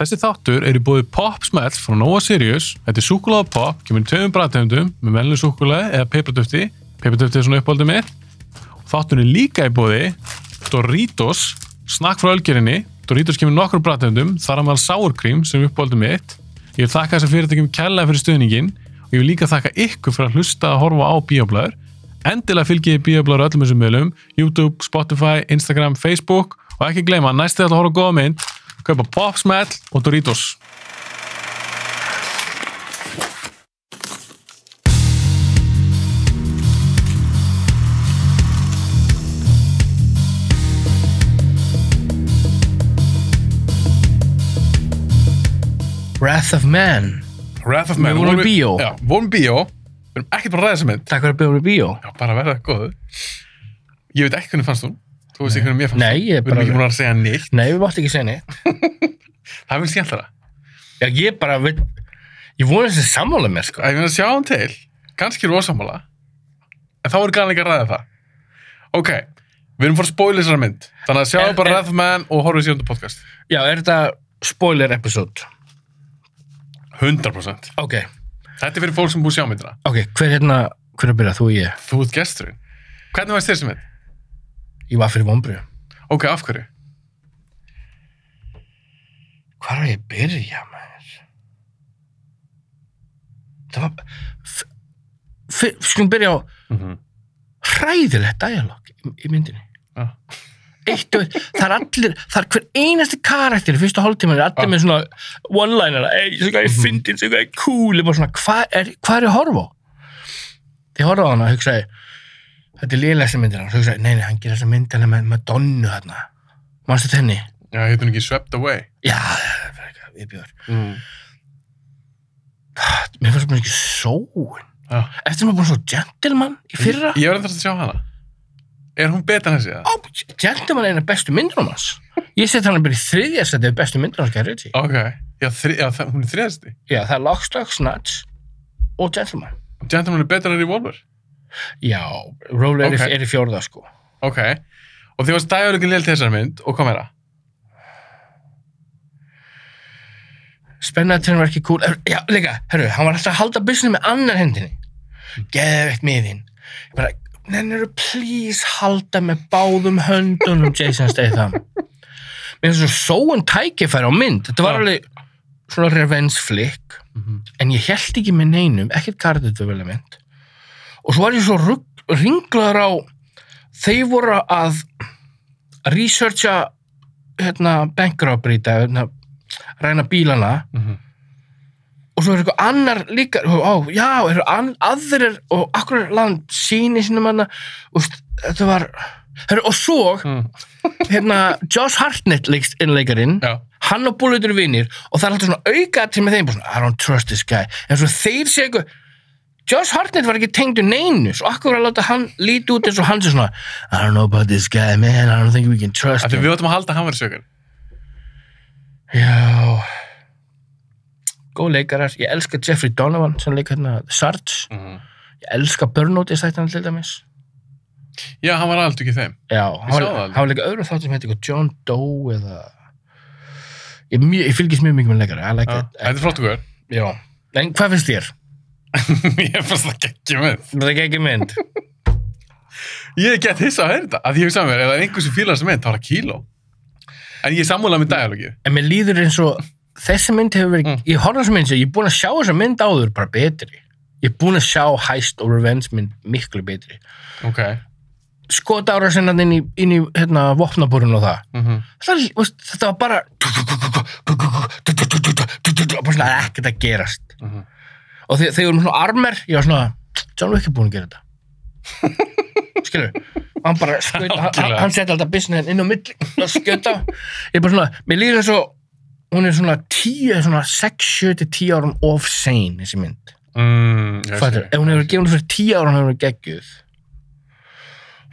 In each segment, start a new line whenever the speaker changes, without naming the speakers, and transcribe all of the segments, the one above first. Þessi þáttur er í búið Popsmell frá Nova Sirius. Þetta er súkulega pop, kemur í tveimum bræðtegundum með melnum súkulega eða peipratöfti. Peipratöfti er svona uppáldið mitt. Þáttur er líka í búið Doritos, snakk frá ölgerinni. Doritos kemur í nokkrum bræðtegundum, þar að maður sárkrím sem er uppáldið mitt. Ég vil þakka þessar fyrirtækjum kærlega fyrir stuðningin og ég vil líka þakka ykkur fyrir að hlusta að horfa á bíoblæður. Endilega fylgjið bíoblæður öllum þessum meðlum, YouTube, Spotify, Instagram, Facebook og ekki gleyma, næstu þetta að horfa á góða mynd, kaupa Popsmell og Doritos.
Wrath of Man
Wrath of
Við
Man.
vorum í
Vorum
bíó.
Já, vorum í bíó. Við erum ekkert bara að ræða þessa mynd.
Takk fyrir að bjóða mér í bíó
Já, bara verða góðu. Ég veit ekki hvernig fannst hún. Þú veist ekki hvernig mér fannst
Nei,
hún.
ég er
Við erum
bara-
ekki múin að segja neitt.
Nei, við máttum ekki segja neitt
Það er vel skemmtara.
Já, ég bara veit Ég vona þessi sammála mér, sko
Ég finn að sjá hún til. Ganski eru ósamála. En þá er gæðan ekki að ræða það. Ok, við erum fór að spóla þessara mynd. Þannig að
En-
sjáum bara
en-
Wrath of Man og horfum síðan til podcast.
Já, er þetta spoiler episode?
100%.
Ok,
Þetta er fyrir fólk sem er búið að sjá myndina.
ok, hver hérna Hver er að byrja, þú og ég?
Þú ert gesturinn. Hvernig varst þér sem mynd?
Ég var fyrir vombriðu
Ok, af hverju?
Hvar var ég að byrja, maður? Það var f- f- Skulum byrja á hræðilegt dialog í, í myndinni
Já.
Eitt og það er allir, það er hver einasti karakter í fyrsta hálftíman er allir
Já.
með svona one-liner, ei, svo hvað ég fyndin, svo hvað ég cool, ég bara svona, hvað er, hvað er ég að horfa á? Þegar ég horfa á hana og hugsaði, þetta er lélega sem myndir hann, svo hugsaði, nei, nei, hann gerir þessa myndina með Madonna þarna, mannstu þetta henni?
Já, heitum ekki Swept Away.
Já, það er bara eitthvað, ég bjóður.
Mm.
Mér fannst mér ekki sóun.
Já.
Eftir maður búin svo gentleman í fyrra,
Ég, ég var endast að sjá hana. Er hún betur en þessi? eða?
Ó, gentleman er eina bestu myndunum hans. Ég seti hann bara í þriðja setið bestu myndunum hans, Gary Ritchie.
Ok. Já, þri, já það, hún er þriðasti.
Já, það er Lockstock, Snatch og Gentleman.
Gentleman er betur en Revolver.
Já, Roller
Ok.
er, í, er í fjórða sko.
Ok. Og því varst dæguleikin lill til þessar mynd og hvað meira?
Spennatrinn var ekki cool. Er- Já, líka, herru, hann var alltaf að halda businu með annar hendinni. Geðveitt miðinn. Ég Bara, nennirðu please halda með báðum höndunum Jason Statham. Mér finnst svo sóun tækifæri á mynd. Þetta var
Já.
alveg svona revenge flick.
Mm -hmm.
En ég held ekki með neinum, ekkert kardinduvel mynd. Og svo var ég svo rugg- ringlaður á þeir voru að researcha hérna, bankrobbrýta hérna, ræna bílana
Mm -hmm.
og svo er eitthvað annar líka ó, já, eru an, aðrir og akkur land síni sinni manna og st- þetta var heru, og svo
Mm.
hérna, Josh Hartnett leikst innleikarinn
Já.
hann og Bulletur vinnir og það er alltaf svona auka til með þeim bara svona, I don't trust this guy en svo þeir segja eitthvað Josh Hartnett var ekki tengdur neinu svo akkur að láta hann líti út eins og hann sé svona I don't know about this guy man I don't think we can trust
Þegar
him
við áttum að halda að hann verið sögur.
já góð leikarar ég elska Jeffrey Donovan sem leikar hérna Sarge
Mm -hmm.
ég elska Burnout í stættan til dæmis
Já, hann var aldrei ekki í þeim.
Já, hann
sá það
var-
alveg.
hann var líka öðru þáttum sem heitir eitthvað John Doe eða ég, er mjög, ég fylgist mjög mikið með leikara I like
Já.
it.
Þetta er flott okkur.
Já, en hvað finnst þér?
ég fannst það geggjum mynd.
Það er ekki mynd.
Ég get hissa að heyra þetta. Að því ég hugsa mér, ef það er einhver sem fílar þessa mynd, þá er það kíló. En ég sammála með dæguleikið.
En mér líður eins og þessi mynd hefur verið,
Mm.
ég horfði á þessi mynd sem ég er búin að sjá þessa mynd áður bara betri. Ég er búin að sjá Heist og Revenge mynd miklu betri.
Ok.
Skota ára sinna inn í, inn í hérna, vopnaburinn og það.
Mm -hmm.
Það, er- veist, þetta var bara bara svona ekkert að gerast
Mm -hmm.
og þegar þeir voru með svona armer ég var svona, John Wick er búin að gera þetta skilur og hann bara, skaut, hann,
Algjörlega.
hann seti alltaf businessin inn á milli og skjöta ég er bara svona, mér líður eins og hún er svona 10, svona 6, 7 til 10 árum of sane þessi mynd
Mm, ég
Fattur,
sé.
ef hún hefur gefið hún fyrir 10 árum hefur hún geggjuð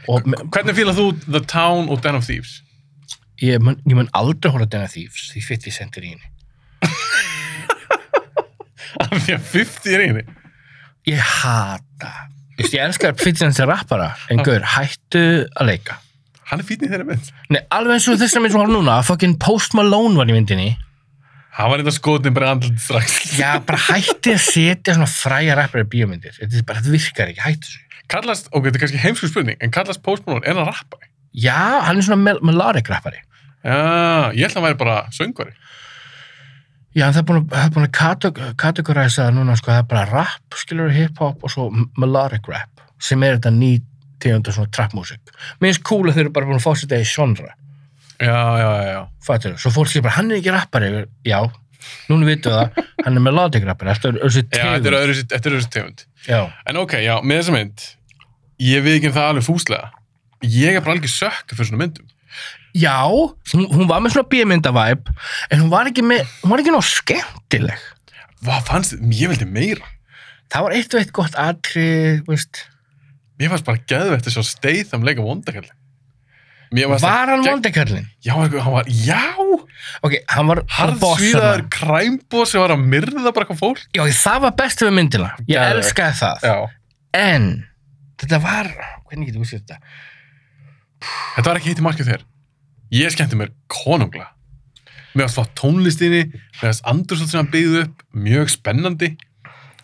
og me-
Hvernig fílar þú The Town og Den of Thieves?
ég mun, ég mun aldrei hóra denna þýfs því fyrir við sendir í henni
Af því að 50 er eini.
Ég hata Just, Ég elskar 50 Cent's rappara En gaur, hættu að leika
Hann er fínn í þeirra mynd.
Nei, alveg eins og þess að minn sem var núna Fucking Post Malone var í myndinni
Hann var eitthvað skotin bara andlut strax.
Já, bara hætti að setja svona fræja rappar í bíómyndir. Þetta er bara, þetta virkar ekki, hætti þessu.
Kallast, ok, þetta er kannski heimsku spurning, en kallast Post Malone en að rappa?
Já, hann er svona mel melodic rappari.
Já, ég held að hann væri bara söngvari.
Já, en það er búin að, það er búin að kate- kategoræsa það núna, sko, það er bara rap, skilur hip-hop og svo m- melodic rap, sem er þetta ný tegunda svona trap-músík. Mér finnst cool að þeir eru bara búin að fá sér þetta í genre.
Já, já, já, já.
Fattur, svo fólk sé bara, hann er ekki rappari. Já, núna vitum við það, hann er melodic rappari. Þetta er össi
Já, þetta er
tegund.
öðru, þetta er öðru tegund.
Já,
En ok, já, með þessa mynd, ég við ekki um það alveg fúslega. Ég er bara alveg sökk fyrir svona myndum.
já hún, hún var með svona bíómyndavæp, en hún var ekki með, hún var ekki náðu skemmtileg.
Hvað fannst þið? Ég veldi meira.
Það var eitt og eitt gott atrið, veist.
Mér fannst bara geðvegt að sjá steið um leika vondakalli. Mér fannst
Var hann
gegn-
vondekallin?
Já, eitthvað, hann var, já,
Ok, hann var hann
harðsvíðaður kræmbó sem var að myrða bara eitthvað fólk.
Já, ok, það var best við myndina. Ég
Geðveikt.
elskaði það.
Já.
En, þetta var, hvernig getur við sér þetta?
Þetta var ekki hitt í markið þér. Ég skemmti mér konungla. Mér varst flott tónlistinni, mér varst andursótt sem hann byggði upp, mjög spennandi.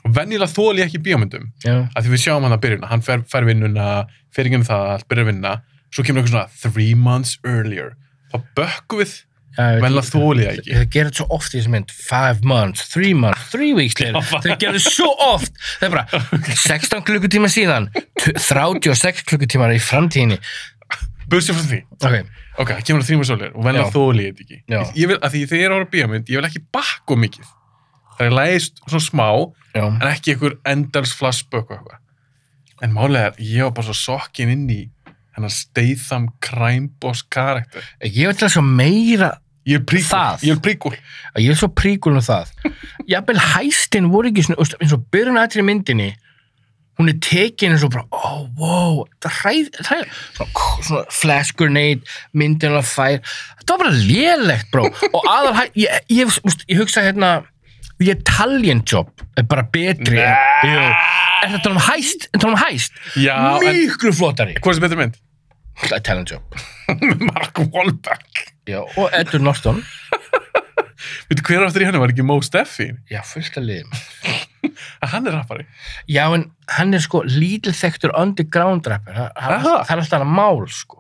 Og venjulega þóli ég ekki í bíómyndum.
Já.
að því við sjáum hann að byrjun, hann fer, fer vinnuna, fer ekki um það, allt, byrjar að vinna, svo kemur eitthvað svona three months earlier, þá bökkum við,
Já, ég veit
mennilega þólið ekki.
Þau gerðu þetta svo oft í þessu mynd Five months, three months, three weeks later Þau gerðu þetta svo oft Það er bara 16 klukkutíma síðan t- 36 klukkutímar í framtíðinni
Bursið frá því,
Ok,
ok, það kemur að three months earlier og mennilega
Já.
þólið ekki.
Já.
Ég, ég vil, að því þegar ég er að bíamund, ég vil ekki bakka of mikið. Það er lægist svona smá,
já
en ekki einhver endals flashback og eitthvað. En málega er, ég var bara svo sokkin inn í hennar Statham crime boss karakter.
Ég vil til að svo meira
Ég er príkul,
Það?
ég er príkul.
Ég er svo príkul um það Jafnvel hæstin voru ekki svona veist, eins og byrjun aðri myndinni hún er tekin eins og bara oh, wow, það hræð, hræð svona, k- svona flash grenade myndin að fær, þetta var bara lélegt bró, og aðal hæ, ég, ég, úst, ég hugsa hérna The Italian Job er bara betri en,
Nei.
Jú. er þetta um hæst, er þetta um hæst
Já, en
miklu flottari
hvað er sem betur mynd?
The Italian Job
Mark Wahlberg.
Já, og Edward Norton
Veitu hver aftur í henni var ekki Mo Steffi?
Já, fullt að liðum
Að hann er rappari.
Já, en hann er sko lítilþektur underground rapper. Það, það,
Aha.
það er alltaf hann mál, sko.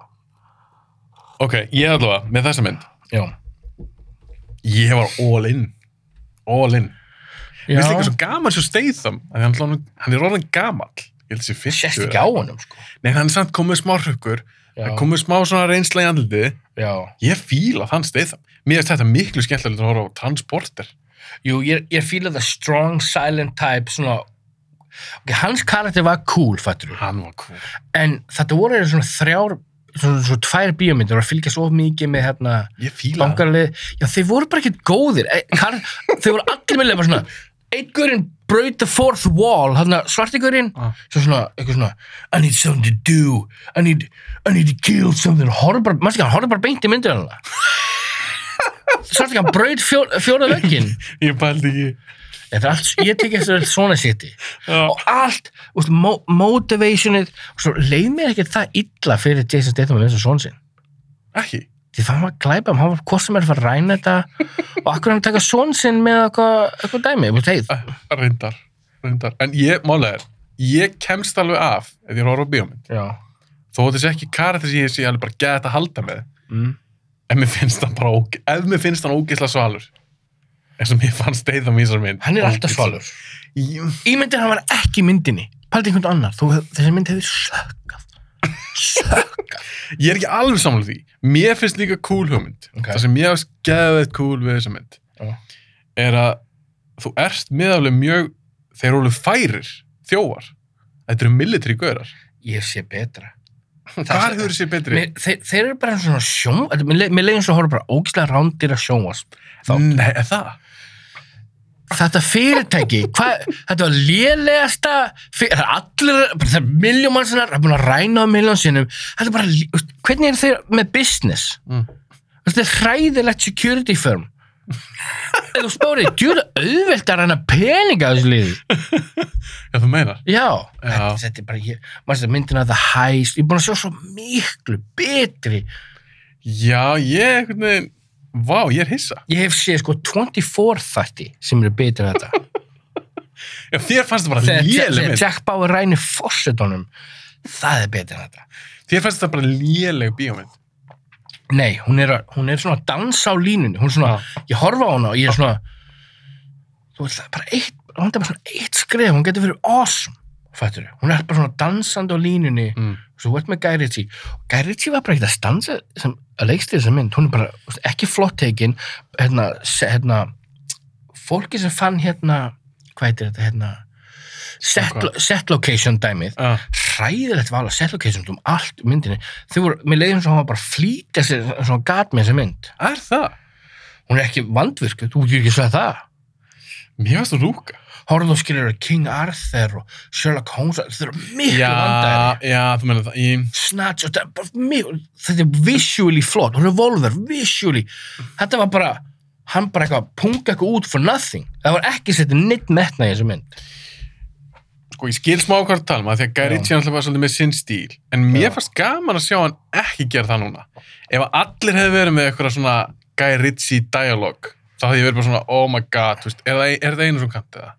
Ok, ég allavega, með þessa mynd,
Já.
ég var all in. All in. Mér
Já.
finnst líka svo gaman svo Statham, að hann, hann, hann er orðin gamall. Ég held að sé 50.
Sérst ekki
eða-
á honum, sko.
Nei, hann er samt komið smá hrökkur,
Já.
hann komið smá svona reynsla í andliti.
Já.
Ég fíla þann Statham. Mér finnst þetta miklu skemmtilega að horfa á Transporter.
Jú, ég, ég fíla það strong, silent type, svona... Ok, hans karakter var cool, fattur við.
Hann var cool.
En þetta voru eru svona þrjár, svona, svona tvær bíómyndir að fylgjast of mikið með hérna
Ég fíla hann.
bankarlið. Já, þeir voru bara ekkert góðir. E, kar, þeir voru allir meðlega bara svona... Einn braut the fourth wall, hérna svartigurinn,
Ah.
svo svona, eitthvað svona I need something to do I need, I need to kill something horfður bara, maður ekki, hann horfður bara beint í myndir hann Svart ekki, hann braut fjó, fjóra veggin
Ég pældi ekki.
Þetta er allt, ég tek eftir allt svona seti
Já.
og allt, úst, mo motivationið og svo leið mér ekkert það illa fyrir Jason Statham eins og svona sinn
Ekki.
því það var glæpa, hann var hvort sem er að fara að ræna þetta og akkur hann taka svona sinn með eitthvað eitthvað dæmi, þú veist, hey,
Eh, Reyndar. Reyndar. En ég, málega er, ég kemst alveg af ef ég horfa á bíómynd.
já
þó að þessi ekki karakter sem ég sé alveg bara geta að halda með
mm.
en mér finnst hann bara óge, ef mér finnst hann ógeðslega svalur eins og mér fannst deyða mér þessar mynd
hann er alltaf
Ógeðslega-
svalur
Ég-
Ímyndir hann var ekki í myndinni Paldi einhvern annar, þú, þessi mynd hefði sökkað Sökkað
ég er ekki alveg samlega því mér finnst líka cool hugmynd
Ok.
það sem ég hafst geðið cool við þessa mynd
Já.
er að þú ert meðalveg mjög þeir eru alveg færir þjófar þetta eru military gaurar
Ég sé betra
hvað hefur þessi betri?
mér, þeir, þeir eru bara svona sjón þetta- Mér leið- mér leiðum svo að horfa bara ógislega rándir að sjónvasp þá-
Nei, er það?
Þetta fyrirtæki, hvað, þetta var lélegasta fyr- Það er allir, bara það er miljón mann sinnar Það er búin að ræna á miljón sinnum Þetta er bara, lí- veist, hvernig eru þeir með business?
Mm.
Þetta er hræðilegt security firm Eða þú spórið, djúra auðvelt að ræna peninga af þessu liði
Já, þú meinar
Já,
Já.
Þetta, þetta er bara ég, maður sér myndina að það hæst, ég er búin að sjá svo miklu betri
Já, ég einhvern veginn Vá, ég er hissa.
Ég hef séð sko 24 þætti sem eru betur að þetta.
Já, þér fannst þetta bara
Þegar
léleg
Jack-
mynd.
Jack Bauer rænir fórsetunum, það er betur en þetta.
Þér fannst þetta bara léleg bíómynd.
Nei, hún er, að- hún er svona að dansa á línunni. Hún er svona, ég horfa á hana og ég er svona, þú veist það, er bara eitt, hún er bara svona eitt skrif, hún getur verið awesome, fættur Hún er bara svona dansandi á línunni,
Mm.
svo þú ert með Guy Ritchie. Og Guy Ritchie var bara ekkert að stansa sem að leikst þessa mynd, hún er bara þú veist, ekki flott tekin, hérna, se- hérna, fólki sem fann hérna, hvað heitir þetta, hérna, set,
Hvað?
set location dæmið,
Ah,
hræðilegt val að setla keisum um allt í myndinni þau voru, mér leiðum svo að hann var bara að flýta sér svona gat með þessa mynd
er það?
hún er ekki vandvirk, þú getur ekki svo að það
Mér fannst þú rúka.
horfðu og skilur að King Arthur og Sherlock Holmes, þau eru miklu
Já,
vandæri
já, þú meina það. Í...
Snatch, og þetta er bara miklu þetta er visually flott, revolver visually, þetta var bara hann bara eitthvað, punga eitthvað út for nothing það var ekki setið neitt metna í þessu mynd
Sko, ég skil smá hvað þú talum að því að Guy
Já.
Ritchie alltaf var svolítið með sinn stíl. En mér
Já.
fannst gaman að sjá hann ekki gera það núna. Ef að allir hefði verið með eitthvað svona Guy Ritchie dialog, þá hefði ég verið bara svona, oh my god, þú veist, er það, er það einu sem kanti það?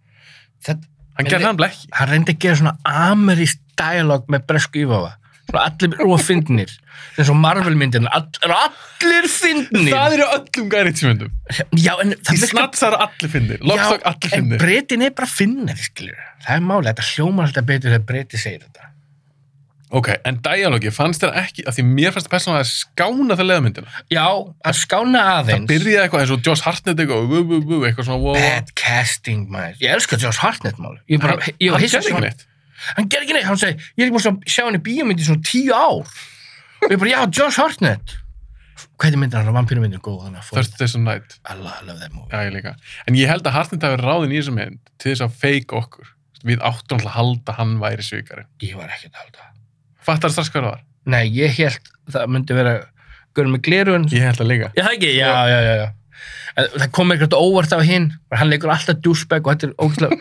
þetta,
Hann
En
gerði
þi-
það blekki.
hann reyndi að gera svona amerísk dialog með bresku yfafa svona allir rúa fyndnir eins og Marvel myndin all, eru allir fyndnir
Það eru öllum Guy Ritchie myndum.
já en
Í
það
snatsar allir finnir, lokstak allir
en
finnir.
breytin er bara finnir skilur. það er máli, þetta hljómar alltaf betur þegar breyti segir þetta
Ok, en dialogi, fannst þér ekki, af því mér fannst persónulega að skána það leiðmyndina.
já, að skána aðeins
Það byrjaði eitthvað eins og Josh Hartnett eitthvað, wu, wu, wu, eitthvað svona, wow, wow.
bad casting maður, ég elska Josh Hartnett mál ég bara,
Hann-
ég var
hann
hissa
gerði
sem
ekki
hann-
neitt.
hann gerði ekki neitt, hann segi, ég er ekki múin að sjá hann í bíómyndi í svona tíu ár og ég bara, já, Josh Hartnett hvað er myndin hann, vampýrumyndin góð þannig að fór,
Thursdays and Night.
Allah, I love that movie
Já, ég líka. En ég held að Hartnett hafi verið ráðin í þessum mynd til þess að feika okkur. Við áttum alltaf að halda að hann væri svikari.
Ég var ekkert að halda. það.
Fattar strax hvað það var?
Nei, ég held það myndi vera görður með glerun.
Ég held að líka.
Já, það ekki, já, já, já. já. En Það kom eitthvað óvart af hinn, bara hann leikur alltaf dúsbæk og þetta er ógæslega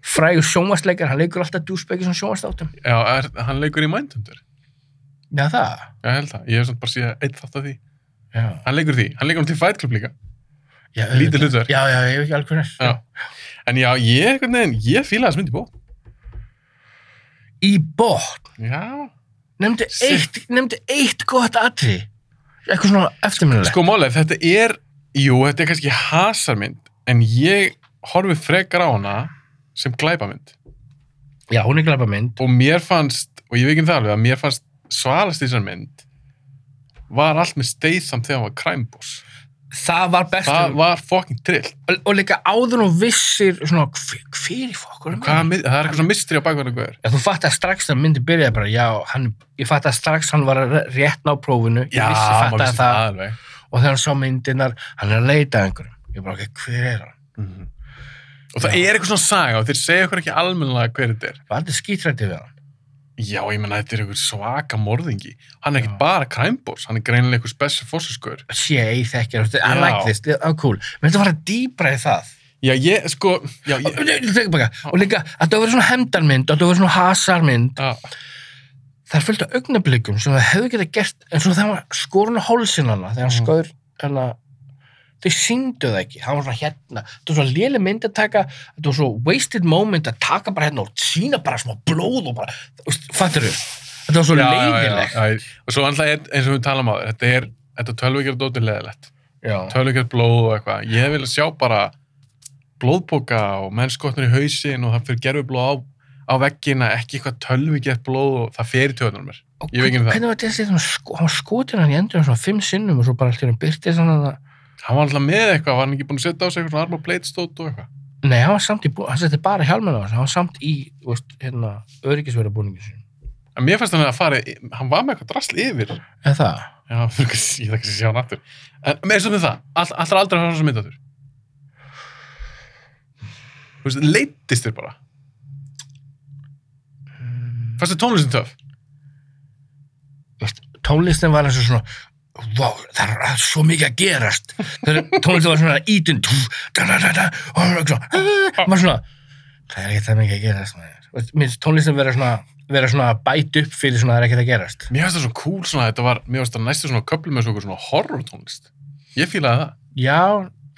frægur sjónvarsleikar, hann leikur alltaf dúsbæk í svona sjónvarsdáttum.
Já, er, hann leikur í Mindhunter.
Já, það.
Já, ég held það. Ég hef samt bara síðan eitt þátt af því.
Já,
Hann leikur því. Hann leikur hann til Fight Club líka.
já
Lítið
auðvitað.
hlutverk.
Já, já, ég hef ekki alveg hvernig.
Já. En já, ég, einhvern veginn, ég fílaði þess mynd í bó.
Í bótt,
Já.
nefndi
Sitt.
eitt, nefndi eitt gott atri. Eitthvað svona eftirminnilegt.
Sko málið, þetta er, jú, þetta er kannski hasarmynd, en ég horfi frekar á hana sem glæpamynd. Sko-
Já, hún er glæpa mynd.
Og mér fannst, og ég veikin það alveg, að mér fannst svalast í þessar mynd var allt með Statham þegar hann var kræmbús.
Það var best.
Það var fucking trill.
Og, og líka áður og vissir svona, hver, hver í fokkur?
Hvað, mynd- það er eitthvað svona mistri á bakverðinu guður.
Já, þú fattar strax þegar myndi byrjaði bara, já, hann, ég fattar strax hann var að re- rétt ná prófinu, ég vissi
maður
fattar
vissi
það,
alveg.
og þegar hann sá myndinar, hann er að leita að einhverjum. Ég bara, ok, hver er hann?
Og það
Mhm. Já.
er eitthvað svona saga og þeir segja okkur ekki almennilega hver þetta er.
Var þetta skítrætti við hann?
Já, ég menna, þetta er eitthvað svaka morðingi. Hann er
Já.
ekkit bara kræmbús, hann er greinilega eitthvað special forces guður.
CIA þekkir, I
Já.
like this, yeah, oh cool. Menn þetta var að dýbra í það.
Já, ég, sko, já,
Og,
ég,
nei, nei, tökum baka. og líka, að þetta var svona hemdarmynd, að þetta var svona hasarmynd,
já,
það er fullt af augnablikum sem það hefði getað gert, en svo það var skorun á hálsin hana, þegar hann
Mhm.
skoður, hana, þau sýndu það ekki, það var svona hérna, þetta var svo léli mynd að taka, þetta var svo wasted moment að taka bara hérna og sína bara smá blóð og bara, fattur þau, þetta var svo
já,
leiðilegt.
já, já, já. Og svo alltaf er, eins og við tala maður, þetta er, þetta tölvugjörð dóttir leðilegt.
Já,
Tölvugjörð blóð og eitthvað. Ég vilja sjá bara blóðboka og mennskotnur í hausin og það fyrir gerfi blóð á, á veggina, ekki eitthvað tölvugjörð blóð og það fer í tjóðunum mér.
og
ég veit ekki um það.
hvernig var þetta, hann sko- hann var skotin hann í endur svona fimm sinnum og svo bara allir hann byrtið svona það,
Hann var alltaf með eitthvað, var hann ekki búin að setja á sig eitthvað svona arma pleitstót og eitthvað.
nei, hann var samt í, bú- hann setti bara hjálmina á þessu, hann var samt í, þú veist, hérna, öryggisverðabúningin sinni,
En mér fannst hann að fara, hann var með eitthvað drasl yfir.
eða það?
Já, ég þarf ekki að sjá hann aftur. En með þessum með það, all, allra aldrei að fara þessum mynd aftur. Þú veist, leittist þér bara. Fannst þér tónlistin töf?
veist, tónlistin var eins og svona Vá, það er allt svo mikið að gerast Þegar tónlistin var svona ítun tú, da, da, da, da, og hann var svona, "Ah", maður svona það er ekki það mikið að gerast maður. Veist, Mér finnst tónlistin vera svona, vera svona að bæta upp fyrir svona það er ekkert að gerast
Mér finnst það svo cool svona, þetta var, mér finnst það næstu svona köplum með svona, einhver svona horror tónlist. Ég fílaði það.
Já,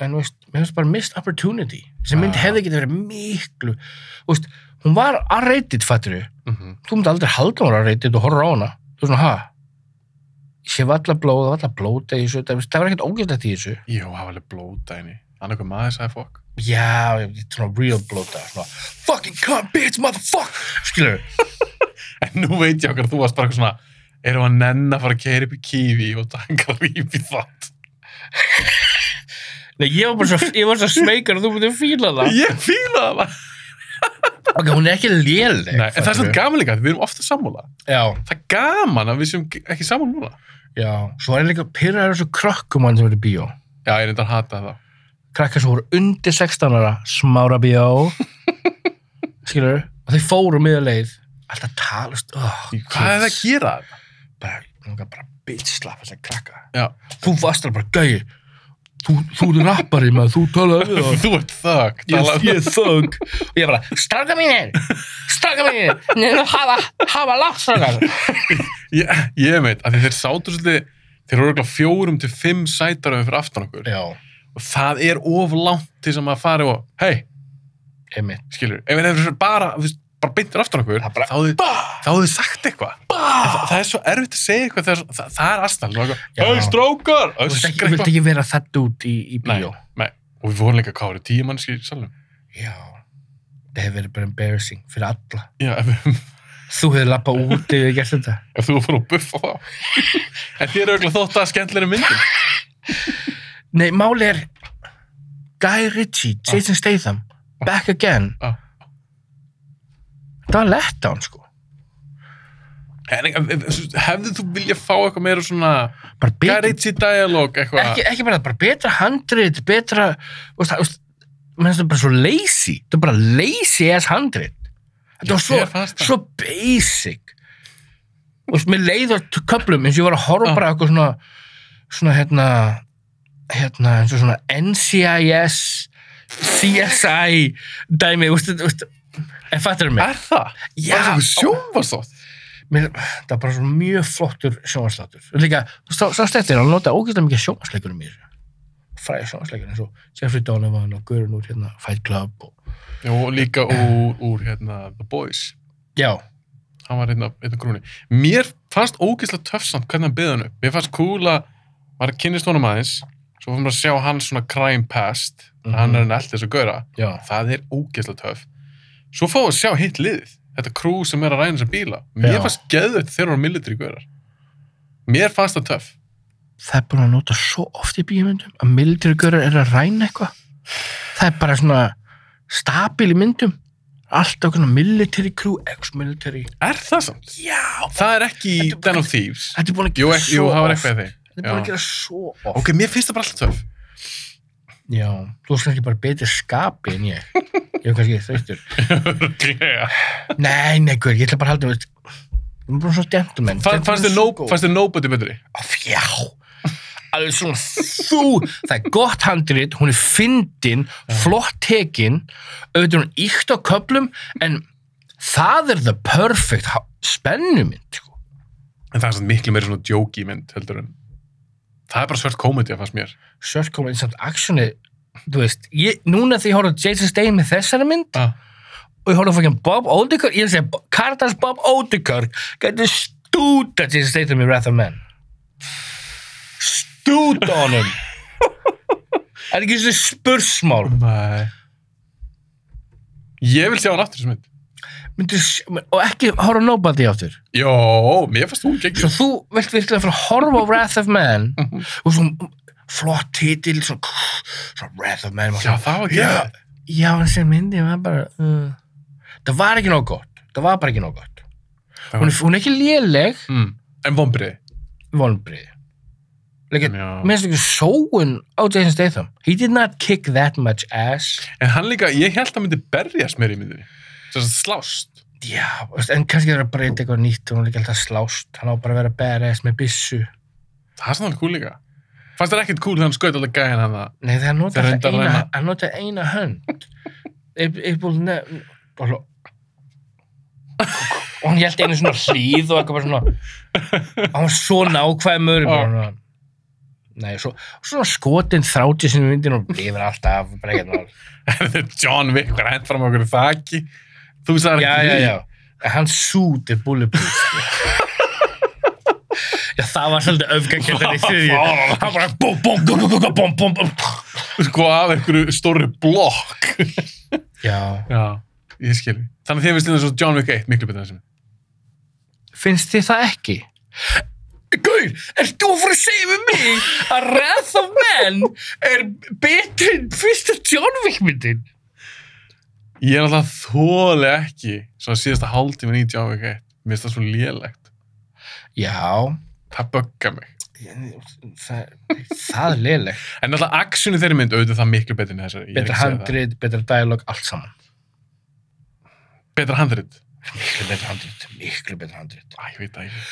en þú veist, mér finnst bara missed opportunity. Þessi mynd
Ah.
hefði getið verið miklu, þú veist, hún var að reytið, fattur við.
Mm -hmm.
Þú myndi aldrei halda hún var að reytið og horfa á hana. Þú veist, svona, ha? Ég sé valla blóð, valla blóta í þessu, það það var ekkert ógæslegt í þessu.
Jú, það var alveg blóta henni. Annarkur maður sagði fokk.
Já, ég- svona real blóta, svona, fucking come, bitch, motherfuck, skilur
En nú veit ég okkar, þú varst bara eitthvað svona, erum að nenn að fara að keira upp í kífi og taka rýf í þátt.
Nei, ég var bara svo, ég var svo smeykur og þú myndið fíla það.
Ég fílaði það.
Ok, hún er ekki léleg.
Nei, en það er
fattarðu.
svona gaman líka, við erum ofta sammála.
Já,
Það er gaman að við séum ekki sammála núna.
já. Svo er ég líka pyrraður þessu krökkumann sem er í bíó.
Já, ég reyndar að hata það.
krakkar sem voru undir 16 ára smára bjó skilur, og þeir fóru miður leið alltaf talast oh,
Hvað er það að gera það?
bara, langar bara bitslap þess að krakka
Já.
þú varst alveg bara gæi þú, þú eru rappari maður, þú talaði við það
Þú ert um þögg.
Ég, ég þögg og ég bara, stráka mínir stráka mínir, neina hafa hafa látt strákar
Ég, ég veit, að þeir sátu svolítið, þeir eru örugglega fjórum til fimm sætarum fyrir aftan okkur.
já,
Og það er of langt til sem að fara og, hei,
einmitt
skilur, ef þeir eru bara, þú veist, bara beintir aftan okkur,
Það bara-
þá hefðu- þá hefur þið sagt eitthvað. En Það, það er svo erfitt að segja eitthvað, þegar, það, það er aðstæðan.
Já.
Hei, strókar!
þú vilt ekki, vilt ekki vera þetta út í, í
Nei,
bíó
nei. Og við vorum líka, hvað voru, tíu mannski í salnum?
já, það hefur verið bara embarrassing fyrir alla
Já, ef við
Þú hefði lappað út ef ég gert þetta.
ef þú fór að buffa þá en þér er auðvitað þótt að skemmtilegri myndin
Nei, máli er Guy Ritchie, Jason Statham, Back Again.
Ah.
Það var lett á hann, sko.
en, en, en, hefðu þú viljað fá eitthvað meira svona
Bara betra,
garage dialog eitthvað
ekki, ekki bara, bara betra handrit, betra, þú veist, það- þú veist, mér finnst það bara svo lazy. Það er bara lazy ass handrit. Þetta var svo,
mér fannst það.
svo basic. Þú veist, mér leiður til köflum eins og ég var að horfa
Ah.
bara á eitthvað svona, svona, hérna, hérna, eins og svona NCIS, CSI dæmi, þú veist, þú veist, en fattur mig?
er það?
Já.
Ah, það er sjónvarsótt
mér, það er bara svo mjög flottur sjónvarslátur. Líka, sá, sá stettir, hann notaði ógeðslega mikið sjónvarsleikunum í þessu. Fræði sjónvarsleikunum, eins og Jeffrey Donovan og Guðrun úr hérna, Fight Club og...
og líka úr, úr hérna, The Boys
Já,
hann var hérna, hérna grúni mér fannst ógeðslega töfsamt hvernig hann byði hann upp mér fannst cool að maður kynnist honum aðeins svo fannst maður að sjá hann svona crime past
Mhm.
hann er hann alltaf þess að gauðra
já,
það er ógeðslega töf svo fáum við að sjá hitt liðið þetta krú sem er að ræna þessar bíla mér
Já.
fannst geðveitt þegar hún er military görar mér fannst það töf
það er búin að nota svo oft í bíumyndum að military görur er að ræna eitthvað. Það er bara svona stabil í myndum. Alltaf okkur military crew, ex-military.
er það samt?
Já,
það er ekki í
Þetta er bara-
Den of Thieves
þetta er búin að
jú,
gera
ekki,
svo
jú það var
oft.
eitthvað í því
Þetta er búin
Já.
að gera svo oft.
ok, mér finnst það bara alltaf töf
Já, þú veist kannski bara betri skapi en ég. Ég er kannski þreyttur. Nei, nei, guður, ég ætla bara að halda um þetta. Við erum bara svona gentleman.
Fann- fannst þið no, fannst þér nobody betri?
Já, alveg svona þú. Það er gott handrit, hún er fyndin, flott tekin, auðvitað er hún íkt á köplum, en það er the perfect ha- spennumind, sko.
en það er samt miklu meira svona joke í mynd heldur en það er bara svört komedi að fannst mér
Sörk komið eins og actioni, þú veist, ég, núna þegar ég horfði á Jason Statham með þessari mynd,
ah.
og ég horfði að fækja Bob Odenkirk, ég segi, Kardas Bob Odenkirk gæti stúta Jason Statham í Wrath of Man stúta honum er ekki svona spursmál
ég vil sjá hann aftur í þessu mynd
Myndir, og ekki horfa á nobody áttur
jó, mér fannst hún geggjur
svo þú vilt virkilega fara að horfa á Wrath of Man og svona flott titil svona, svona Wrath of Man
já, það var
já,
geggjur
já, en sem myndi var bara, uh, það var ekki nóg gott það var bara ekki nóg gott
Það
hún
var-
er, hún er ekki léleg
mm. en vombrið
vonbrið Lekkert,
Já.
mér finnst ekki sóun á Jason Statham he did not kick that much ass
En hann líka, ég held að hann myndi berjast meira í myndinni. Þess að slást.
já, veist, en kannski það er að breyta eitthvað nýtt og hann er ekki alltaf slást, hann á bara að vera badass með byssu,
Það er svona alveg cool líka. Fannst þér ekkert cool þegar hann skaut alltaf gæðin hann að...
nei þegar hann
Þeir
notaði
reyndu að
alltaf eina,
ræna.
hann notaði eina hönd Ég- ég búið nefn og hann held einu svona hlýð og eitthvað bara svona hann var svo nákvæmur
Já.
bara, svona, Nei, svo, svona skotin þráti sinni myndin og lifir alltaf, bara ekkert mál.
John Wick var hent fram okkur þakki þú sagði
Já, já, já. En Hann sútir bulletproof, sko. Já, það var svolítið öfgangjöldar í þriðju. Hann bara bú, bú, bú, bú, bú, bú, bú, bú, bú.
sko af einhverju stóri blokk
Já.
já, ég skil þannig að þið finnst þetta svo John Wick 1 miklu betur en þessi mynd.
Finnst þið það ekki? Gaur, ert þú að fara að segja við mig að Wrath of Man er betri en fyrsta John Wick myndin?
ég er náttúrulega þóli ekki svona síðasta hálftíman í John Wick 1 mér finnst það svo lélegt
Já,
það böggar mig
það, það er leileg.
en náttúrulega actionu þeirri mynd auðvitað það miklu betur en þessari ég er
Betra
ekki að segja það.
handrið, betra dialog, allt saman.
betra handrit
Miklu betra handrið, miklu betra handrið.
Æ, ég veit það ekki.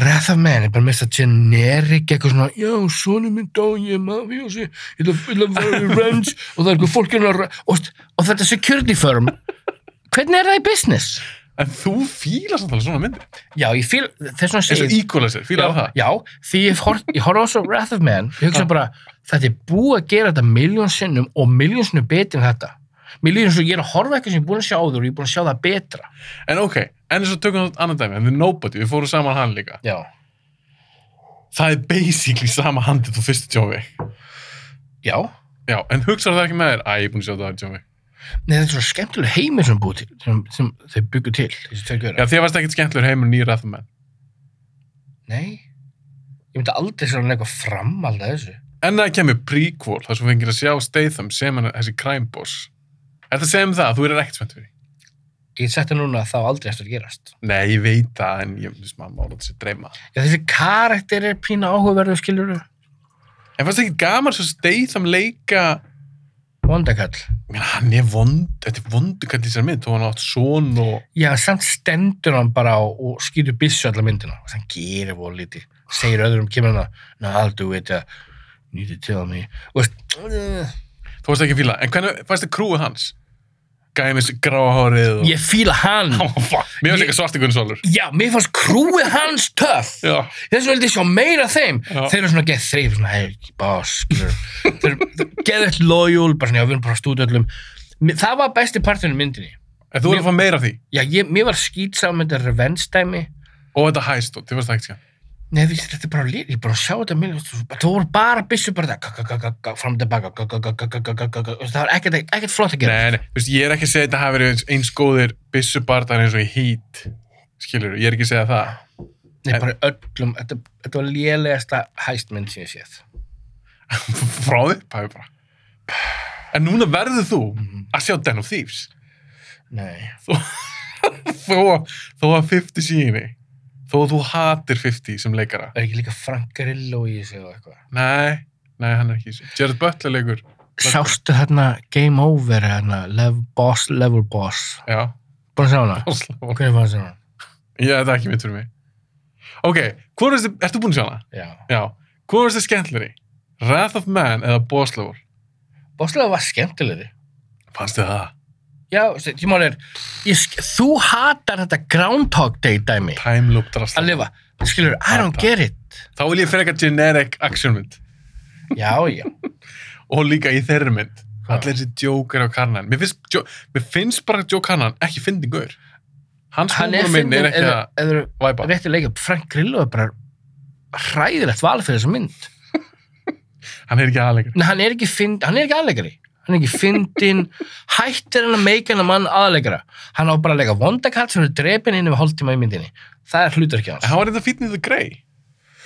Wrath of Man er bara mest að generik eitthvað svona, já, sonum minn dó ég maður, ég sé, ég ætla- ég ætla að vera í ranch og það er eitthvað fólk hérna að ra- og, og þetta security firm hvernig er það í business?
En þú fílar samt alveg svona myndir.
Já, ég fíl, þess vegna
Eins
segi
og íkólasir, fílar það.
já, því ég horf, ég horf á svo Wrath of Man ég hugsa
Já.
bara, þetta er búið að gera þetta miljón sinnum og miljón sinnum betur en þetta mér líður eins og ég er að horfa eitthvað sem ég er búin að sjá áður og ég er búin að sjá það betra
En ok, en þess að tökum það annan dæmi, en The Nobody, við fórum saman hann líka.
já,
Það er basically sama handið þú fyrstu John Wick.
já
Já, en hugsaðu það ekki með þér? Æ, ég er búin að sjá það er John Wick.
Nei, þetta er svo skemmtileg heimir sem, búið til, sem, sem þau byggu til þessi tveir gaurar.
Já, þér varst ekkert skemmtilegur heimur nýra það með.
Nei, ég myndi aldrei sér hann eitthvað fram alltaf þessu.
En það kemur prequel, þar sem þú fengir að sjá Statham sem hann, þessi crime boss. Er það sem það? Þú er ekkert spennt fyrir. því?
Ég setja núna að það á aldrei eftir að gerast.
Nei, ég veit það, en ég finnst maður mála þessi dreyma.
Já, þessi karakter er pína áhugaverðu skiljuru.
En fannst ekki gaman svo Statham leika...
Vondakall.
Ég meina, hann er vond, þetta er vondu kall í þessari mynd, þó hann átt son og...
Já, samt stendur hann bara á og skýtur byssu alla myndina. Og þannig gerir voru lítið. Segir öðrum kemur hann að, no, I'll do it, uh, need to tell me. Og veist,
Þú varst ekki að fíla, en hvernig fannst þið krúið hans? Gæði með þessu gráa hárið og...
ég fíla hann.
Hann var fuck, mér finnst
Ég-
ekki svarti Gunnsvalur.
Já, mér fannst krúið hans töff.
Já,
Þess vegna vildi ég sjá meira af þeim.
Já.
Þeir eru svona geð þreyf, svona, hei, boss, skilur. Þeir eru geðveitt lojal, bara svona, já, við erum bara að stúta öllum. Mér- Það var besti parturinn í myndinni.
en þú er að fá meira af því.
Já, ég, mér var skýtsam með þetta revenge-dæmi.
Og þetta hæst og þið varst ekki skemmt.
Nei, því þetta er bara lýr, ég er bara að sjá þetta mér, þú voru bara byssu bara það, gag, gag, gag, gag, fram og tilbaka, gag, gag, gag, gag, gag, gag, gag, það var ekkert, ekkert flott að gera.
Nei, nei, þú veist, ég er ekki að segja að þetta hafi verið eins, eins góðir byssubardar eins og í hít, skilur, ég er ekki að segja það.
Nei, bara öllum, þetta, þetta var lélegasta hæstmynd sem ég séð.
Frá upphæfi bara. En núna verður þú að sjá Den of Thieves.
Nei,
Þó, þó að 50 síni, þó að þú hatir 50 sem leikara.
er ekki líka Frank Grillo í þessu og eitthvað.
Nei, nei, hann er ekki í þessu. Jared Butler leikur,
Sástu þarna Game Over, þarna, Lev Boss, Level Boss,
já,
búin að sjá hana?
Oslo.
Hvernig fannst þér hana?
Já, þetta er ekki mitt fyrir mig. Ok, hvað er þetta, ertu búin að sjá hana?
Já.
Já. Hvað er þetta skemmtilegri? Wrath of Man eða Boss Level?
Bosslega var skemmtilegri.
Fannst þið það?
Já, veistu, ég mál er, ég, sk- þú hatar þetta Groundhog Day dæmi.
Time loop drasla.
að lifa skilur, I don't
Hata.
get it
Þá vil ég freka generic action mynd.
já, já,
Og líka í þeirri mynd.
Hvað?
Allir þessi Joker og Karnan. Mér finnst, jo, mér finnst bara Joe Karnan ekki fyndingur. Hans
hann er
húmur minn
fyndin
er ekki
eða,
að
eða
væpa.
rétti leika, Frank Grillo er bara hræðilegt val fyrir þessa mynd
Hann er ekki aðleikur.
Nei, hann er ekki, fynd, hann er ekki aðleikari hann er ekki fyndin hættir hann að meika hann að mann aðleikara hann á bara að leika vondakall sem er drepin inn yfir hálftíma í myndinni það er hluturki
En
hans
hann var þetta fýtnið the Grey.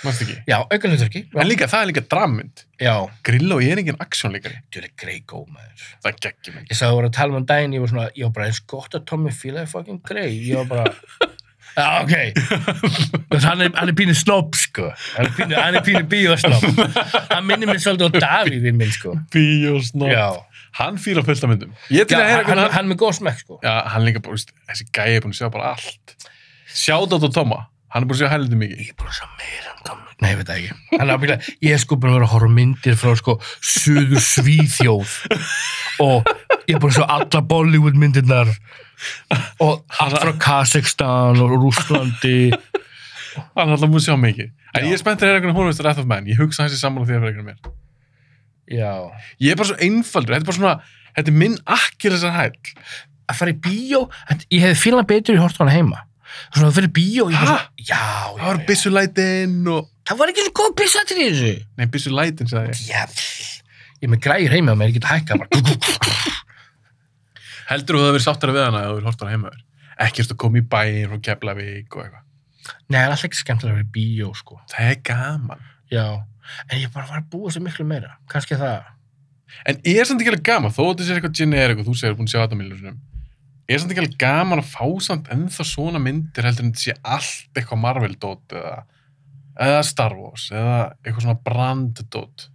Mást ekki?
já, auka hluturki
En líka, það er líka drammynd.
já,
Grillo er engin actionleikari.
djúlega grei góð maður
Það er geggjum
ég sagði að voru að tala um daginn ég var svona, ég var bara eins gott að Tommy fílaði fucking grei ég var bara Já, ok. Þú veist, hann er, hann er pínu snobb, sko. Hann er pínu, hann er pínu bíosnobb. Hann minnir mér svolítið á Davíðin minn, sko.
Bíosnob.
Já.
Hann fýlar fullt af myndum. Ég til
Já,
að heyra
hann, hann,
hvernig hann...
hann er með góð smekk, sko.
Já, hann líka bara, veist, þessi gæi er búin að sjá bara allt. Sjáðat á Toma. Hann er búin að sjá heldur mikið.
Ég er búin að sjá meira en Tommy. Nei, ég veit það ekki. Hann er ábyggilega, ég er sko búin að vera að horfa á myndir frá, sko, Suður Svíþjóð. Og ég er búin að sjá alla Bollywood myndirnar. Og allt frá Kazakstan og Rússlandi.
hann alltaf múið sjá mikið en
Já.
ég er spenntur að heyra einhvern honumist Wrath of Man ég hugsa hans í sammála því að vera einhvern mér
Já.
ég er bara svo einfaldur, þetta er bara svona þetta er minn akkir þessar hæll
Að fara í bíó, þetta- ég hefði fílan betur í hort á hana heima. Svona að fara í bíó, ég
Hæ?
Já, já,
það var
já.
byssulætin og
Það var ekki einu góð pissatir í þessu.
nei, byssulætin sagði ég
Já, pff. ég er með græjur heima á mér, ég get hækka bara.
heldur þú að það verið sáttara við hana eða þú verið hortar heimaður ekki ertu að koma í bæinn frá Keflavík og eitthvað
Nei, það er alltaf ekki skemmtilega að vera í bíó, sko.
það er gaman
Já, en ég bara var að búa svo miklu meira. Kannski það.
en er samt ekki alveg gaman þó að þetta sé eitthvað generic og þú segir búin að sjá þetta miljónum er samt ekki alveg gaman að fá samt ennþá svona myndir heldur en þetta sé allt eitthvað Marvel dot eða, eða Star Wars eða eitthvað svona brand dot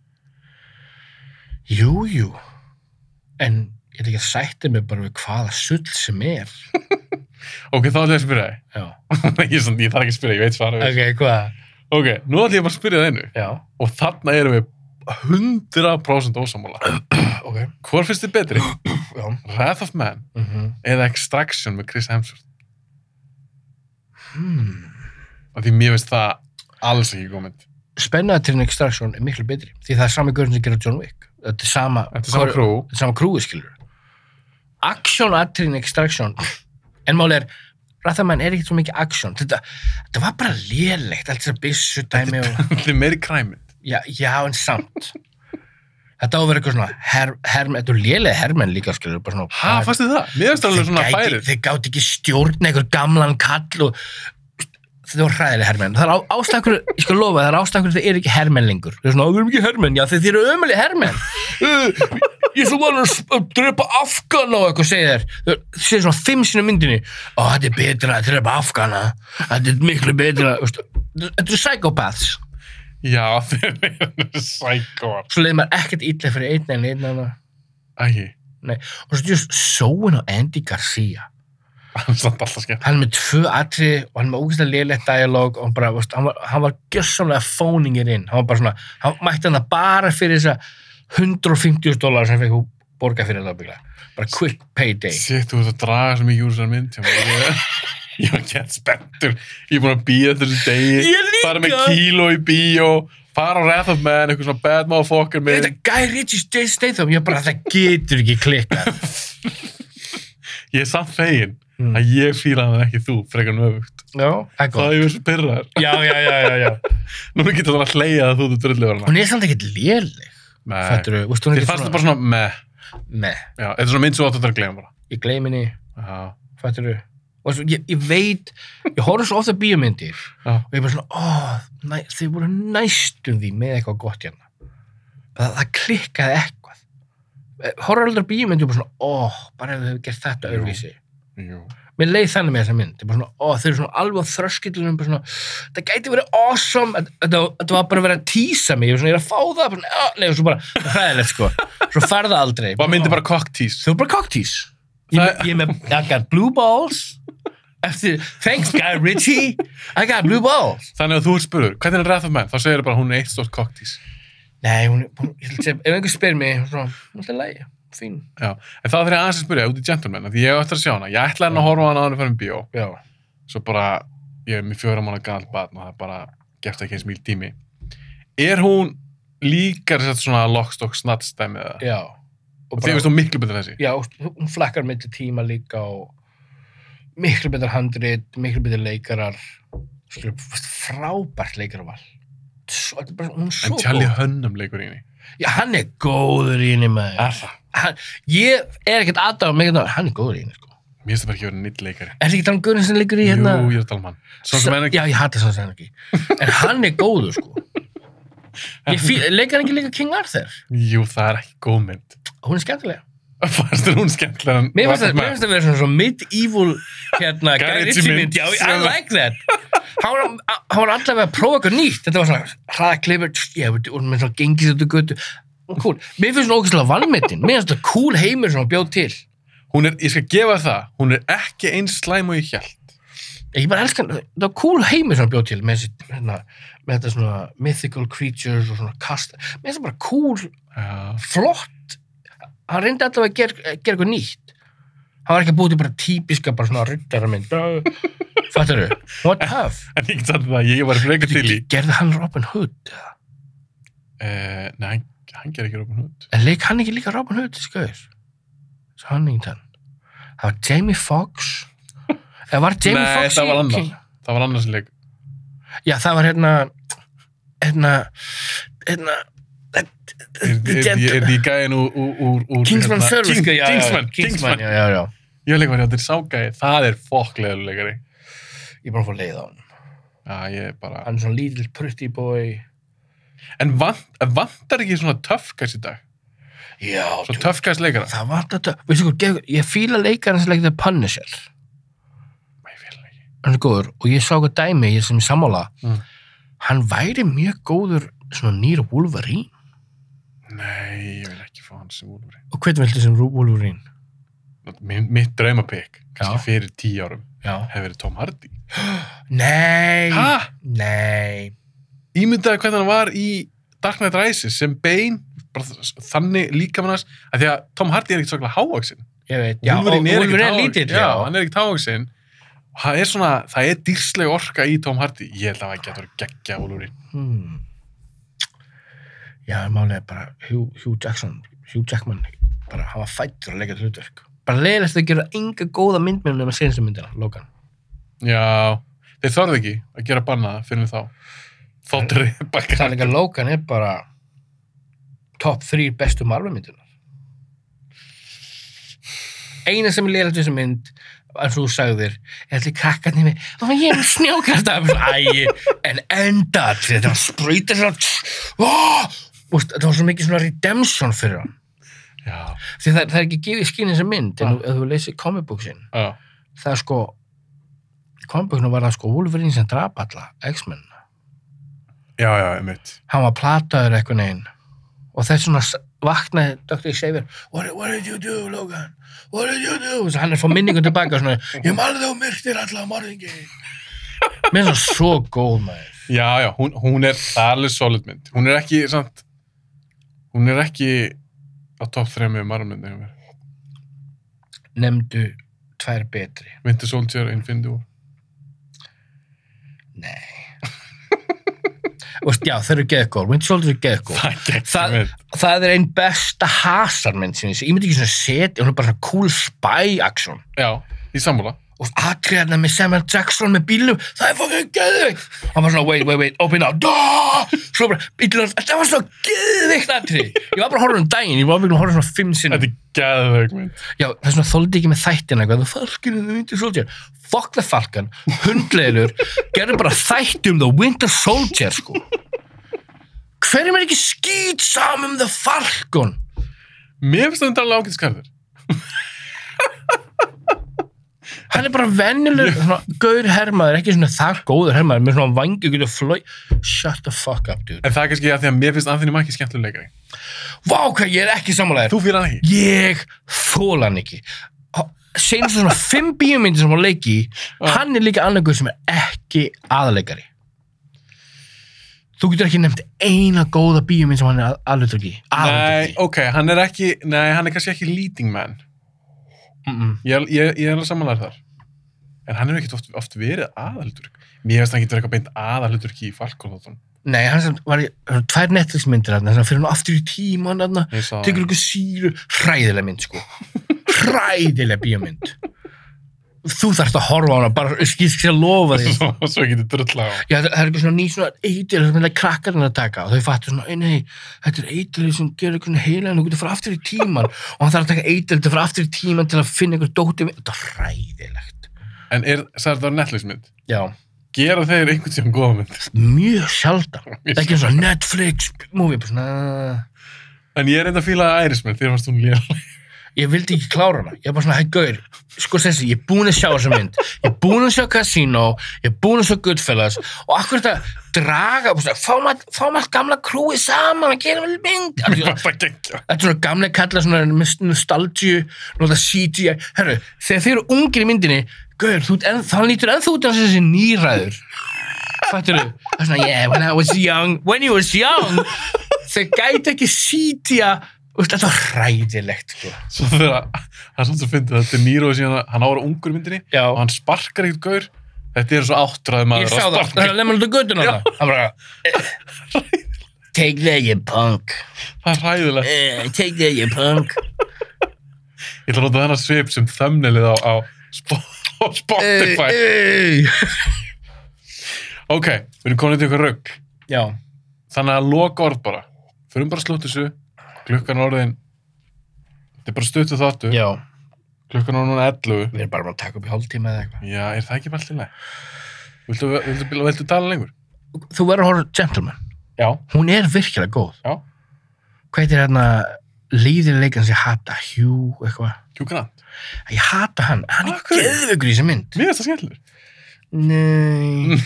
Jú, jú. En ég er ekki að sætti mig bara við hvaða sull sem er.
ok, þá ætlum ég að spyrja
Já.
þig ég, er samt, ég þarf ekki að spyrja, ég veit svara okay.
Ok, hvað?
ok, nú ætlum ég bara að spyrja það einu
Já.
og þarna erum við 100% ósamála
Ok.
hvort finnst þið betri?
Já.
Wrath of Man
Mm
eða Extraction með Chris Hemsworth
hmm.
af því mér veist það alls ekki komend
Spennaðatirinn Extraction er miklu betri. Því það er sami görn sem gerir John Wick. Þetta er sama...
þetta er saman
hvor-
krú
Þetta er sama krúi, skilur. Action atriðin Extraction. En máli er, Rathamann er ekkert svo mikið action. Þetta, þetta var bara lélegt, allt þessar byssu dæmi og...
þetta er meiri kræmið
Já, já, en samt. Þetta á að vera eitthvað svona her, hermenn, þetta er lélega hermenn líka, skilur, bara svona...
Hæ, fannst þið það? Mér finnst það alveg svona
Þeir gæti-
færið.
Þeir gáti ekki stjórna einhver gamlan kall og þetta var hræðileg hermenn. Það er á, ástakur, ég skal lofa, það er ástakur þeir eru ekki hermenn lengur. Þeir eru svona, "Ó, við erum ekki hermenn, já þeir, þeir eru ömuleg hermenn. Uh, ég svo var að s- að drepa Afgana og eitthvað segir þér. Þeir þeir segja svona fimm sinni myndinni, ó þetta er betra að drepa Afgana, þetta er miklu betra, veistu. þetta eru psychopaths.
Já, þeir eru sækóar.
Svo leiði maður ekkert ítlega fyrir einn en einn annan.
Ægji,
Og svo just sóin á Andy Garcia.
hann er samt alltaf skemmt.
hann er með tvö atri og hann er með ógeðslega liðlegt dialog og hann, bara, veist, hann var, hann var gjössamlega fóningir inn hann var bara svona, hann mætti hann það bara fyrir þess að 150 dólar sem hann fekk hún borga fyrir þetta byggla bara quick payday
Sitt, þú ert að draga sem ég úr þessar mynd. hjá mér. Ég, ég var gett spenntur. Ég er búin að býja þessu degi.
Ég líka.
Fara með kíló í bíó. Fara á Wrath of Man, eitthvað svona bad motherfucker
þetta
mynd.
Guy Ritchie Jay Statham ég bara, það getur ekki klikkað
Ég er samt fegin
Mm.
að ég fýla hann en ekki þú, frekar en öfugt.
já, það er
Það
gott
er ég verið pyrraður.
já, já, já, já, já.
Núna getur það að hleyja að þú þú drullið var hana.
hún er samt ekkert liðleg
Nei.
fættur þú, veist hún er
Þér fannst það bara svona meh.
svona með,
Já, þetta er svona mynd sem þú átt að glemja bara.
ég gleym henni
Já.
fættur þú og svo, ég, ég veit, ég horfði svo ofta bíómyndir
Já.
og ég bara svona, ó, næ, þau voru næstum því með eitthvað gott hérna það, það klikkaði eitthvað Eh, horfður aldrei bíómynd og bara svona, ó, bara ef þau hefur gert þetta
Jú.
öðruvísi
Jú.
mér leið þannig með þessa mynd, ég bara svona, ó, þau eru svona alveg á þröskillunum, bara svona það gæti verið awesome, þetta- þetta þetta var bara að vera að tísa mig, ég var svona, ég er að fá það bara, svona, "Ah", nei, og svo bara, hræðilegt sko svo farða aldrei,
Var myndi bara cocktease.
þau eru bara koktís ég,
Það-
ég er með, I got blue balls eftir, thanks Guy Ritchie I got blue balls
Þannig að þú ert spurður, hvernig er Wrath of Man? Þá segir það bara hún er eitt stórt koktís.
Nei, hún, hún ég ætla að segja, ef einhver spyr mig, svona, hún ætla að lægja, fín.
Já, en þá þarf ég aðeins að spyrja út í gentleman, af því ég hef eftir að sjá hana. Ég ætlaði hann að horfa á hana áður en fyrir bíó,
Já.
svo bara, ég er með fjóra mánu galt barn og það bara gefst ekki eins mýl tími. Er hún líkar þess að svona lockstock snart stæmið það?
Já. Og
Því
bara,
veist hún miklu betur en þessi.
já, hún flakkar með til tíma líka og miklu betur handrit, miklu betur leikarar, skilur, fast frábært leikarval. Svo, þetta er bara, hún er svo
En Charlie
góð.
Hunnam leikur í henni.
Já, hann er góður í henni með.
Er það?
Hann, ég er ekkert aðdáð mikið náður, hérna. hann er góður í henni, sko.
Mér finnst það bara ekki verið nýtt leikari.
Er þetta ekki talað um góðurinn sem leikur í hérna?
Jú, ég er talmann. Svo sem er ekki,
Já, ég hata svo sem hann ekki. En hann er góður, sko. Ég fí- Leikar hann ekki líka King Arthur?
jú, það er ekki góð mynd.
hún er skemmtilega
Fannst þér hún skemmtilega en
mér
Wrath
finnst
of
það- mér
Man?
finnst það að vera svona, svona mid-evil hérna,
Guy
Guy
Ritchie
Ritchie
mynd.
mynd já, I
Sem-
like that hann var, hann var allavega að prófa eitthvað nýtt þetta var svona hraða klifur já, veit, og með svona gengis þetta götu cool. mér finnst það ógæslega valmetinn mér finnst það cool heimur sem hann bjóð til
Hún er, ég skal gefa þér það, hún er ekki eins slæm og ég hjælt.
ég bara elska hann, það var cool heimur sem hann bjóð til með, þessi, hérna, með þetta svona mythical creatures og svona kast mér finnst það bara cool,
Já.
flott hann reyndi allavega að gera, gera eitthvað nýtt hann var ekki að búið til bara típiska bara svona ryttaramynd fattar þau, what tough
En ég get samt það, ég var frekar til í.
gerði hann Robin Hood
Uh, nei, hann, hann ger ekki Robin Hood.
en leik hann ekki líka Robin Hood skauður Sannington það var Jamie Foxx eða var Jamie
Nei,
Foxx
það
í-
var annar. Það var annars leik.
já það var hérna hérna hérna
Er er því gæðin úr... úr- úr- úr-
Kingsman
hérna-
Service
King-
já, já, já.
Kingsman,
Kingsman,
Kingsman.
já, já, já.
Ég var líka verið að þetta er ságæði. Það er fokklegur leikari.
ég er bara að fá leið á hann
Já, ég er bara...
hann er svona lítill pretty boy
En vant, vantar ekki svona töfkast í dag?
já,
Svo
djú,
töfkast leikara?
það var þetta veistu hvað, geðveikur, ég fíla leikarinn sem leikur The Punisher
Nei, ég fél ekki.
hann er góður og ég sá eitthvað dæmi ég sem ég sammála
Mm.
hann væri mjög góður svona nýra Wolverine
Nei, ég vil ekki fá hann sem úrveri.
og hvernig viltu sem Wolverine
Mitt draumapikk,
Já.
kannski fyrir tíu árum,
já
hefur verið Tom Hardy.
Nei,
Hæ?
nei
ímyndaði hvernig hann var í Dark Knight Rises sem Bane bara þ- þannig líka mann hans að því að Tom Hardy er ekkert svaklega hávaksinn
Ég veit, já,
Wolverine
og Wolverine er
ekkert há-
lítill
já,
já.
hann er ekkert hávaksinn og það er svona, það er dýrsleg orka í Tom Hardy ég held að hann getur geggja Wolverine
Hmm. já, málið er bara Hugh, Hugh Jackson Hugh Jackman, bara hann var fættur að leika þetta hlutverk bara leiðilegt að gera enga góða myndmynd nema senstu myndina, Logan
já, þeir þorðu ekki að gera bannaða fyrir þá þá drepa
það er
ekki
líka Logan er bara top 3 bestu Marvel myndina eina sem er leiðilegt við þessu mynd eins og þú sagðir, er allir kakkarnir með og ég er með snjókast af ægi, en enda þetta var spröytir svona oh, úst, það var svo mikið svona redemption fyrir hann
já,
því það, það er ekki gefið skinn þessi mynd en
Ah.
ah. ef þú leysir comic booksin
já,
það er sko í comic bookinu var það sko Wolverine sem drap alla X-Men
já, já, einmitt
hann var plataður eitthvað neginn og þess svona s- vaknaði Dr. Xavier what, what did you do Logan what did you do og hann er fór minningu tilbaka og svona ég marði og myrktir alla marðingi mér er það svo góð maður
já, já, hún, hún er það er alveg solid mynd, hún er ekki samt, hún er ekki á topp 3 með marmyndi hefur
nefndu tvær betri
Winter Soldier, Infinity War
nei og já þeir eru geðgóð Winter Soldier er geðgóð
Það gekk
Það- það er einn besta hasarmynd sem ég sé, ég myndi ekki svona setja hún er bara svona cool spy action
Já, í sammála
og atriðarna með Samuel Jackson með bílum, það er fucking geðvikt hann var svona, wait, wait, wait, open up Dá! svo bara, bílum, þetta var svona geðvikt atrið, ég var bara að horfa um daginn ég var bara að horfa svona fimm sinnum
Þetta er gæðveik mynd
já, það er svona þóldi ekki með þættina eitthvað, the falcon and the winter soldier fuck the falcon, hundleilur gerðu bara þætti um the winter soldier sko hverjum er ekki skýt saman um the falcon
Mér finnst þetta alveg ágætt skarður
hann er bara venjulegur svona gaur hermaður, ekki svona það góður hermaður með svona vangi getur flói shut the fuck up dude
En það er kannski að því að mér finnst Anthony Mackie skemmtilegur leikari
vá hvað ég er ekki sammálaður
Þú fyrir hann ekki
ég þóla hann ekki senast svona fimm bíómyndir sem hann leiki
Já.
hann er líka annar gaur sem er ekki aðleikari þú getur ekki nefnt eina góða bíómynd sem hann er aðlutryggi
Nei, ok, hann er ekki Nei, hann er kannski ekki leading man
Mm,
Ég, ég, ég er alveg samanlega þar En hann hefur ekkert oft, oft verið aðaldur Mér finnst hann getur eitthvað beint aðaldur í Falcon þáttunum.
nei, hann sem var í það eru tvær Netflix myndir hann, hann fyrir hann aftur í tíman hann
Ég sá það.
tekur ykkur síru hræðilega mynd sko hræðilega bíómynd þú þarft að horfa á hana bara ég skil ekki að lofa því
Svo, svo getur drulla á
Já, það það er eitthvað svona ný svona eitir sem hérna krakkarinn að taka og þau fattu svona, "Ei, nei, þetta er eitir sem gerir eitthvað heila en þú getur að fara aftur í tíman og hann þarf að taka eitir til að fara aftur í tíman til að finna eitthvað dótið við, þetta er hræðilegt
En er, sagði þetta á Netflix mynd
Já,
Gera þeir einhvern tíðan góða mynd
mjög sjaldan Það er ekki svona Netflix movie, bara svona
En ég er enda að fíla að Irisman Þegar fannst hún lélega
ég vildi ekki klára hana, ég er bara svona, hei gaur sko þessi, ég er búin að sjá þessa mynd ég er búin að sjá Casino, ég er búin að sjá Goodfellas og akkur þetta draga, bara svona, fá maður fá maður gamla krúi saman að gera vel mynd Af því að-
Það geggja
þetta er svona gamla kalla svona með nostalgíu, nota CGI herru, þegar þeir eru ungir í myndinni gaur, þú, ert enn, þá lítur ennþá út af þessi nýræður fættur þú? það er svona, yeah, when I was young when you was young þeir gæti ekki CGI veist, þetta var hræðilegt sko.
Svo þegar að- það er svolítið að fyndi þetta er Nýró síðan að hann ára ungur í myndinni
Já,
og hann sparkar ekkert gaur þetta er svo áttræði maður að
ég sá það,
sparka.
það er lemur út á göttuna það Hann bara eh, Take that you punk
það er hræðilegt
Eh, Take that you punk
ég ætla að nota þennan svip sem þömnilið á, á, Sp- á
Eh,
Spotify
Ey, ey.
ok, við erum komin til ykkur rugg
Já,
þannig að loka orð bara förum bara að slúta þessu klukkan er orðin þetta er bara stuttu þáttu
já
klukkan er núna 11
Við erum bara búin að taka upp í hálftíma eða eitthvað
já, er það ekki bara alltaf viltu, viltu, viltu, viltu tala lengur?
Þú verður að horfa á gentleman
já,
Hún er virkilega góð
já,
Hvað heitir hérna Líðileikan sem ég hata Hugh eitthvað
kjúkrant
Ég hata hann, hann
Af
er
hverju?
geðvöggur í þessi mynd
mér finnst það skemmtilegur
Nei,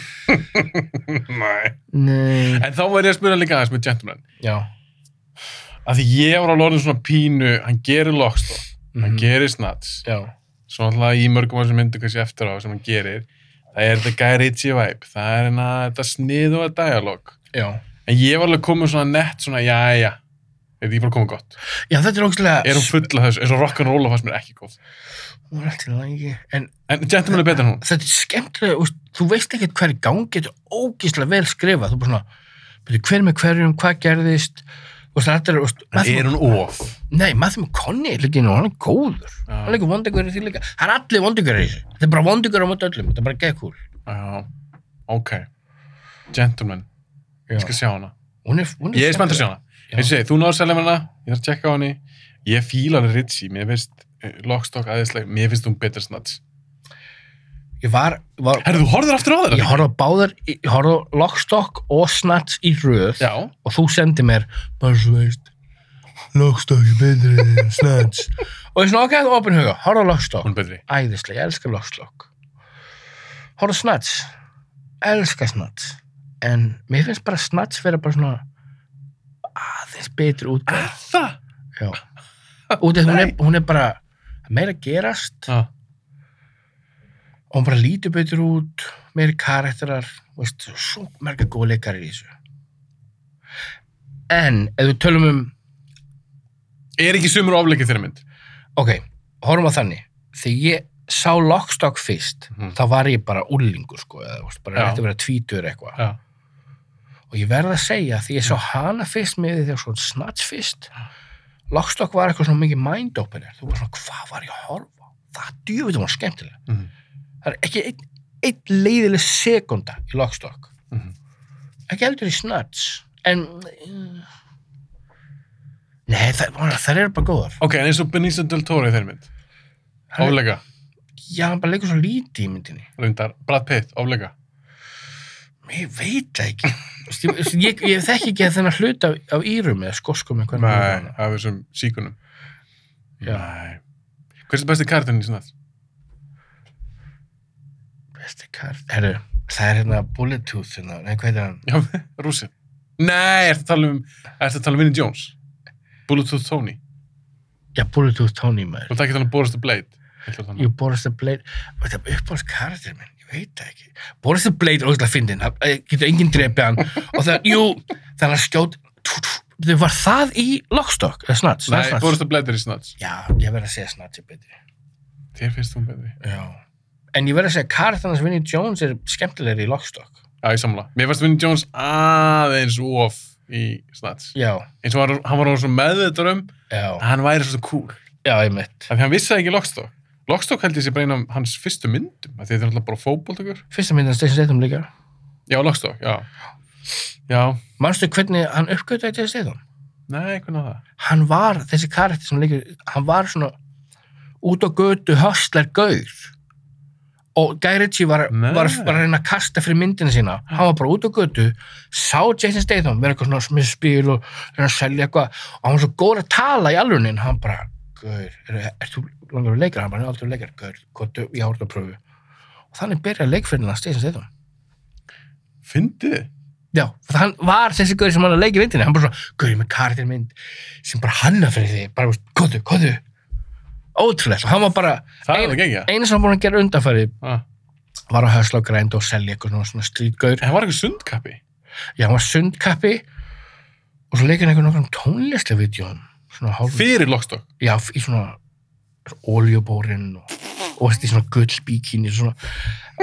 Nei.
nei
en þá verður ég að spyrja líka aðeins með gentleman
Já
að því ég var alveg orðin svona pínu hann gerir lockstock, hann
Mhm.
gerir snats
Já
svo alltaf í mörgum af þessum myndu kannski eftir á sem hann gerir það er þetta Guy Ritchie vibe það er hérna þetta snið og að dialog
Já
en ég var alveg komið svona nett svona já já er því bara komið gott
Já, þetta er ógstilega
er hún full af þessu eins og rock'n'roll fannst mér ekki góð
Hún er allt í lagi En
en gentleman er betur en hún
þetta er skemmtilega úst, Þú veist ekkert hvað er í gangi Þetta er ógstilega vel skrifað Þú bara svona byrju, Hver með hverjum, hvað gerðist Og það er úst,
en er hún of
Nei, Matthew McConaughey er líka inn og hann er góður
Já.
Hann er líka vondegur í því líka Það er allir vondegur í þessu Þetta er bara vondegur á móti öllum Þetta er bara geðkúl
já ok gentleman
Já.
ég skal sjá hana
Hún er, hún
ég er spennt að sjá hana
Já.
eins og segi, þú náður selja með hana ég þarf að tjekka á henni ég fíla hann Ritchie, mér finnst eh, Lockstock aðeinslega, mér finnst hún betur snart
Ég var, var
herru, þú horfður aftur á það
Ég horfði á báðar, ég horfði á Lockstock og Snatch í röð
já,
og þú sendi mér, bara svo veist, Lockstock er betri en Snatch. og ég er svona, ok, opin huga, horfði á Lockstock,
hún er betri
æðislega, ég elska Lockstock. Horfði á Snatch, elska Snatch, en mér finnst bara Snatch vera bara svona aðeins betri útgáð.
það?
Já. Út af því hún, er-
Ah. Nei.
hún er bara meira að gerast
Ah,
og hún bara lítur betur út meiri karakterar veist, svo marga góð leikar í þessu en ef við tölum um
er ekki sumur ofleikið þeirra mynd
ok, horfum á þannig þegar ég sá Lockstock fyrst
Mhm.
þá var ég bara úrlingur sko, eða, veist, bara
Já.
rétti að vera tvítur eitthvað
já,
og ég verð að segja því ég sá hana fyrst með því þegar svona snatch fyrst Lockstock var eitthvað svona mikið mind-opener þú var svona, hvað var ég að horfa á? það djúvita var skemmtilega
Mhm.
það er ekki einn ein leiðileg sekunda í Lockstock
Mhm.
ekki heldur í snatch en eh, nei, það, það eru bara góðar
ok, en eins og Benicio Del Toro í þeirra mynd
Hann-
ofleika,
já, hann bara leikur svo lítið í myndinni
reyndar, Brad Pitt, ofleika
ég veit það ekki Þú veist, ég, ég, ég þekki ekki þennan hlut af, af írum eða skoskum eitthvað
nei, af þessum síkunum
Já.
nei hvers er besti kartinn í snart?
Besti kart Herru, það er hérna Bullet Tooth hérna. Nei, hvað heitir hann?
já, rússin nei, ertu að tala um ertu að tala um Vinnie Jones Bulletooth Tony,
Já, Bullet Tooth Tony
þú
maður
ert ekki að tala um Boris the Blade Ég ætla að tala um-
Jú, Boris the Blade Þetta er uppáhalds karakter minn Ég veit það ekki Boris the Blade er ógæslega fyndin Það eh, getur enginn drepið hann Og það, jú Það er að skjót tú, tú. Þau var það í Lockstock Eða Snatch það er
Nei,
Snatch.
Boris the Blade er í Snuts.
Já, ég verð að segja Snatch er betri
Þér finnst hún betri.
Já En ég verð að segja karakterna sem Vinnie Jones er skemmtilegri í Lockstock
Já, ég samla. Mér fannst Vinnie Jones aðeins of í Snuts.
Já
Eins og hann, hann var orðinn svo meðvitaður um að
Já,
hann væri svo cool.
já, ég mitt
Af því hann vissi það ekki Lockstock. Lockstock held ég sér bara einn af hans fyrstu myndum. af Því þetta er alltaf bara fótboltökur.
Fyrsta myndin Station Statham líka
Já, Lockstock, já. Já,
Manstu hvernig hann uppgötaði Station Statham?
nei, hvernig var það?
hann var, þessi karakter sem leikur hann var svona út á götu höstlar gaur og Guy Ritchie var,
Nei.
var, var að reyna að kasta fyrir myndina sína hann var bara út á götu, sá Jason Statham vera eitthvað svona með spil og reyna að selja eitthvað og hann var svo góð að tala í alvörunin hann bara, gaur, er, er þú langar að leikar? hann bara, ég er aldrei leikar, gaur, hvað, dö- ég árið að pröfu og þannig byrjaði leikfyrirna Jason Statham
Fyndið?
Já, það hann var þessi gaur sem hann að leika í myndinni, hann bara svona, gaur með karaktermynd sem bara hanna fyrir því, bara, veist, kóðu, kóðu, ótrúlegt, og hann var bara,
Það er
Ein-
það gengja.
einu sem hann búin að gera undanfæri,
Ah.
var að hösla og grænda og selja eitthvað svona, svona strýtgaur,
En hann var eitthvað sundkappi.
já, hann var sundkappi, og svo leika hann eitthvað nokkrum tónlistavídjón, svona hálf
Fyrir lockstock.
já, í svona oljubórin og, og veist, í svona gullbíkinni svona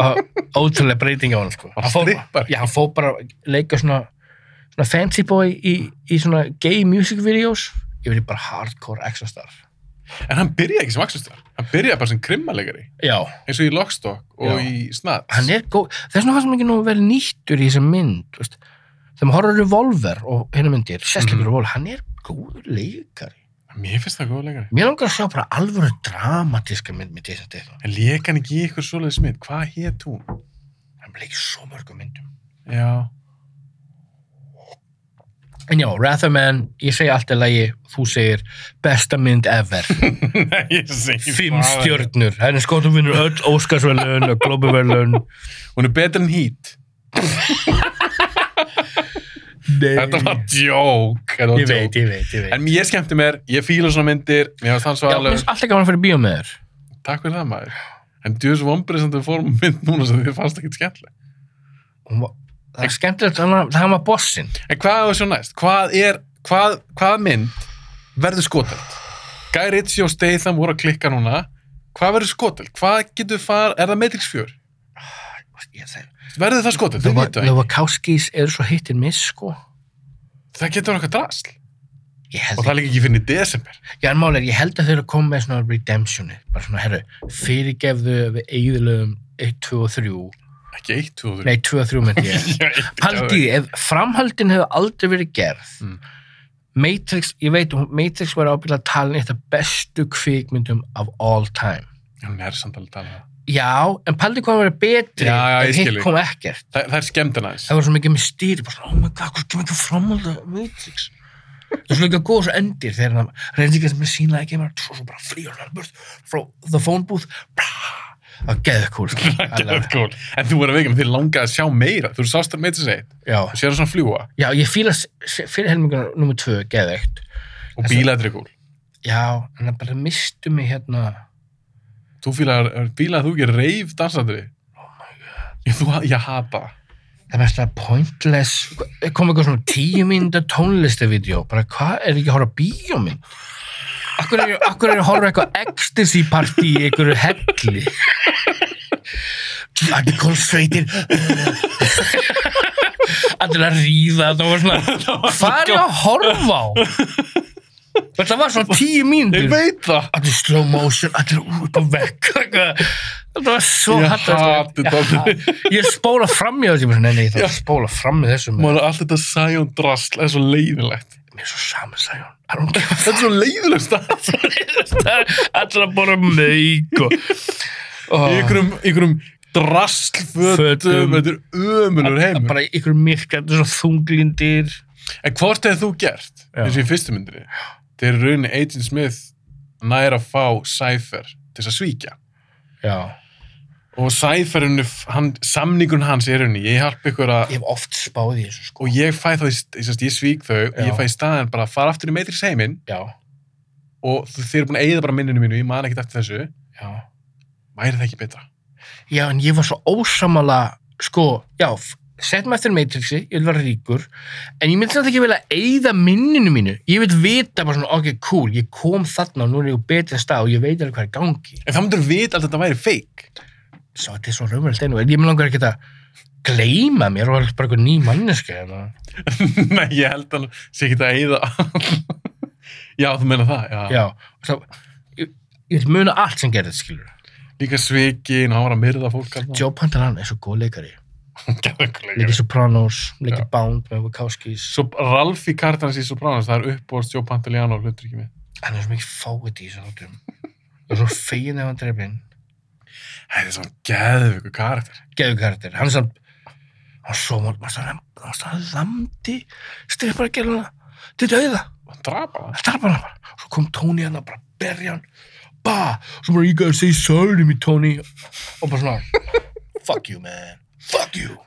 uh, ótrúlega breyting á hann sko.
Hann
fór,
strippar.
já, hann fór bara að leika svona, svona fancy boy í, í svona gay music videos ég verið bara hardcore extra star
En hann byrjaði ekki sem axlustar. Hann byrjaði bara sem krimmalegari.
já,
Eins og í lockstock og
Já.
í snats.
hann er góð þess vegna fannst hann ekki nú vel nýttur í þessum mynd veist. þegar maður horfður revolver og hennar myndir, sérstaklega
Mhm.
revolver hann er góður leikari
Mér finnst það góð leikari.
mér langar að sjá bara alvöru dramatíska mynd með Jason Statham,
En leik hann ekki í ykkur svoleiðis mynd. Hvað hétt hún?
hann leikir svo mörgum myndum
Já.
En já, Ratherman, ég segi allt í lagi, þú segir besta mynd ever,
Nei, ég segi
fimm
bara-
stjörnur, henni skotum vinnur öll Óskarsverðlun og Globuverðlun.
Hún er betur en hít.
Nei,
Þetta var djók. Þetta var
ég veit,
djók.
ég veit, ég veit.
En ég skemmti mér, ég fíla svona myndir, mér finnst þann svo
já, mér
alveg,
finnst alltaf gaman að fyrir bíó með þér.
takk fyrir það maður. En djúðis vombrið sem þau fórum um mynd núna sem þið fannst ekki skemmtileg.
Hún var- Það er skemmtilegt, hann var- það var bossinn.
En hvað er svo næst? Hvað er, hvað, hvað mynd verður skotelt? Guy Ritchie og Statham voru að klikka núna. Hvað verður skotelt? Hvað getur far, er það Matrix 4?
Ég segi-
Verður það skotelt? Þau veitum það ekki.
Lovakowskis eru svo hittin miss, sko.
Það getur verið eitthvað drasl.
Ég
Og
held,
það er líka ekki fyrir í desember.
já, en málega, ég held að þau eru að koma með svona redemptionið, bara svona, herru, fyrirgefðu við eigðilegum 1, 2 og 3,
Ekki eitt, þú og þrjú.
nei, 2 og 3 myndi ég.
Já, eitt,
Paldið, ef framhaldin hefur aldrei verið gerð
Mm.
Matrix, ég veit hún- Matrix var ábyggilega talin eitt af bestu kvikmyndum of all time
Já, Hún er samt alveg að tala um það.
Já, en paldið hvað hann verið betri
Já, já,
en
ég skil
hitt
þig.
kom ekkert
Það, það er skemmtan aðeins.
Það var svo mikið mistýri, bara svona, oh my god, hvað kemur ekki framhald af Matrix Það er svo ekki að góða svo endir þegar hann reyndir ekki að mér sínlega ekki maður, svo svo bara flýur hann burt frá the phone booth brá, það geður kúl sko. I love
Geðveikt
it.
cool. En þú voru að veika, menn þið langaði að sjá meira. Þú sást þar Matrix 1
Já,
og sér það svona fljúa
já, ég fíla s- s- fyrir helmingunar nummer tvö, geður
og bílaðri gól.
Já, en það bara mistu mig hérna.
Þú fílaði að þú gerir reif dansandri. Ég, þú, ég hata það.
Það er mest að pointless, kom eitthvað svona tíu mínúta tónlistavídeó, bara hvað er ekki að horfa á bíómynd? Akkur er, akkur er að horfa á eitthvað ecstasy party í einhverju helli? Allir kom straight in. Allir að ríða, það var svona, hvað er ég að horfa á? Það var svona tíu
Ég
mínútur.
veit það.
allir slow motion, allir út og vekk eitthvað. þetta var svo
Ég hati
hallarslegt.
það.
Já, ég spóla fram í þessu ég bara, nei, nei, ég þarf að spóla fram í þessu maður.
Mára, allt þetta Sion drasl er svo leiðilegt.
mér er svo saman Sæjón I don't give a
Þetta er svo leiðilegt stað.
fuck. allir að bóra meik og, og
Í einhverjum, einhverjum
Fötum.
draslfötum, þetta er ömulur heimur.
bara ykkur myrkandi svona þunglindir
En hvort hefði þú gert,
Já.
eins og í fyrstu myndri, þegar í rauninni Agent Smith nær að fá Cypher til þess að svíkja.
já
Og Cypher, er í rauninni- hann, samningun hans er í rauninni, ég hjálp ykkur að
ég hef oft spáð í þessu sko
og ég fæ þá, í st- ég, sest, ég svík þau og
Já.
ég fæ í staðan bara að fara aftur í Matrix heiminn
já
og þau þið eru búin að eigða bara minninu mínu, ég man ekkert eftir þessu,
já
væri það ekki betra?
já en ég var svo ósamala sko já f- sett mig eftir Matrixi ég vil vera ríkur en ég myndi samt ekki vilja eyða minninu mínu ég vil vita bara svona ok cool ég kom þarna og nú er ég á betri stað og ég veit alveg hvað er í gangi
En það myndur vita að þetta væri feik.
svo þetta er svo raunverulegt einu ég mér langar ekki að gleyma mér og alveg bara eitthvað ný manneski hérna.
Nei, ég held hann sé ekki að eyða. já, þú meina það, já.
já og svo ég, ég vil muna allt sem gerðist skilur
Líka svikin, hann var að myrða fólk hann.
Joe Pantalan er svo góð leikari
Gæðugleikari.
leikir Sopranos, leikir
Já.
Bound með Wachowskis,
Svo Ralfi Kartans í Sopranos, það er uppbórst Joe Pantoliano hlutur ekki með.
hann er svo mikið fáið í þessu þáttum og svo fegin ef hann drefin
Það er svona gæðugur karakter.
geðu karakter, hann er samt hann er svo mál, maður svo hann var svo landi, styrði bara að gera hana til dauða,
Hann drapa það.
það starf bara bara svo kom Tony hann að bara berja hann ba, svo bara you gotta say sorry to me Tony og bara svona fuck you man, fuck you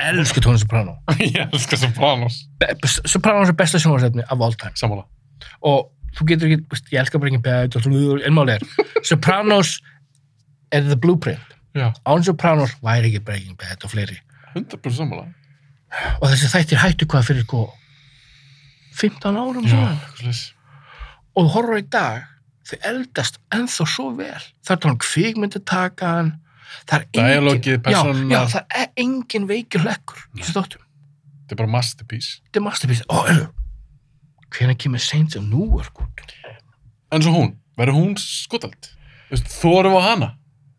elsku Tony Soprano
Ég elska Sopranos.
Be- Sopranos er besta sjónvarsefni af all time
Sammála.
og þú getur ekki, veist, ég elskar bara ekki betur, ennmáli er Sopranos er the blueprint
Já,
án Sopranos væri ekki Breaking Bad og fleiri
100% sammála.
og þessi þættir hættu hvað fyrir hvað 15 sko, árum
Já,
síðan
eitthvað slags.
og þú horfur í dag þau eldast ennþá svo vel það er talað um kvikmyndatakan það er engin
Dialogið, persónurnar.
já, já, það er engin veikir lekkur í þessu þáttum
Þetta er bara masterpiece.
þetta er masterpiece ó, er, hvenær kemur Saints of Newark út
En svo hún, verður hún skotald? Þórum á hana?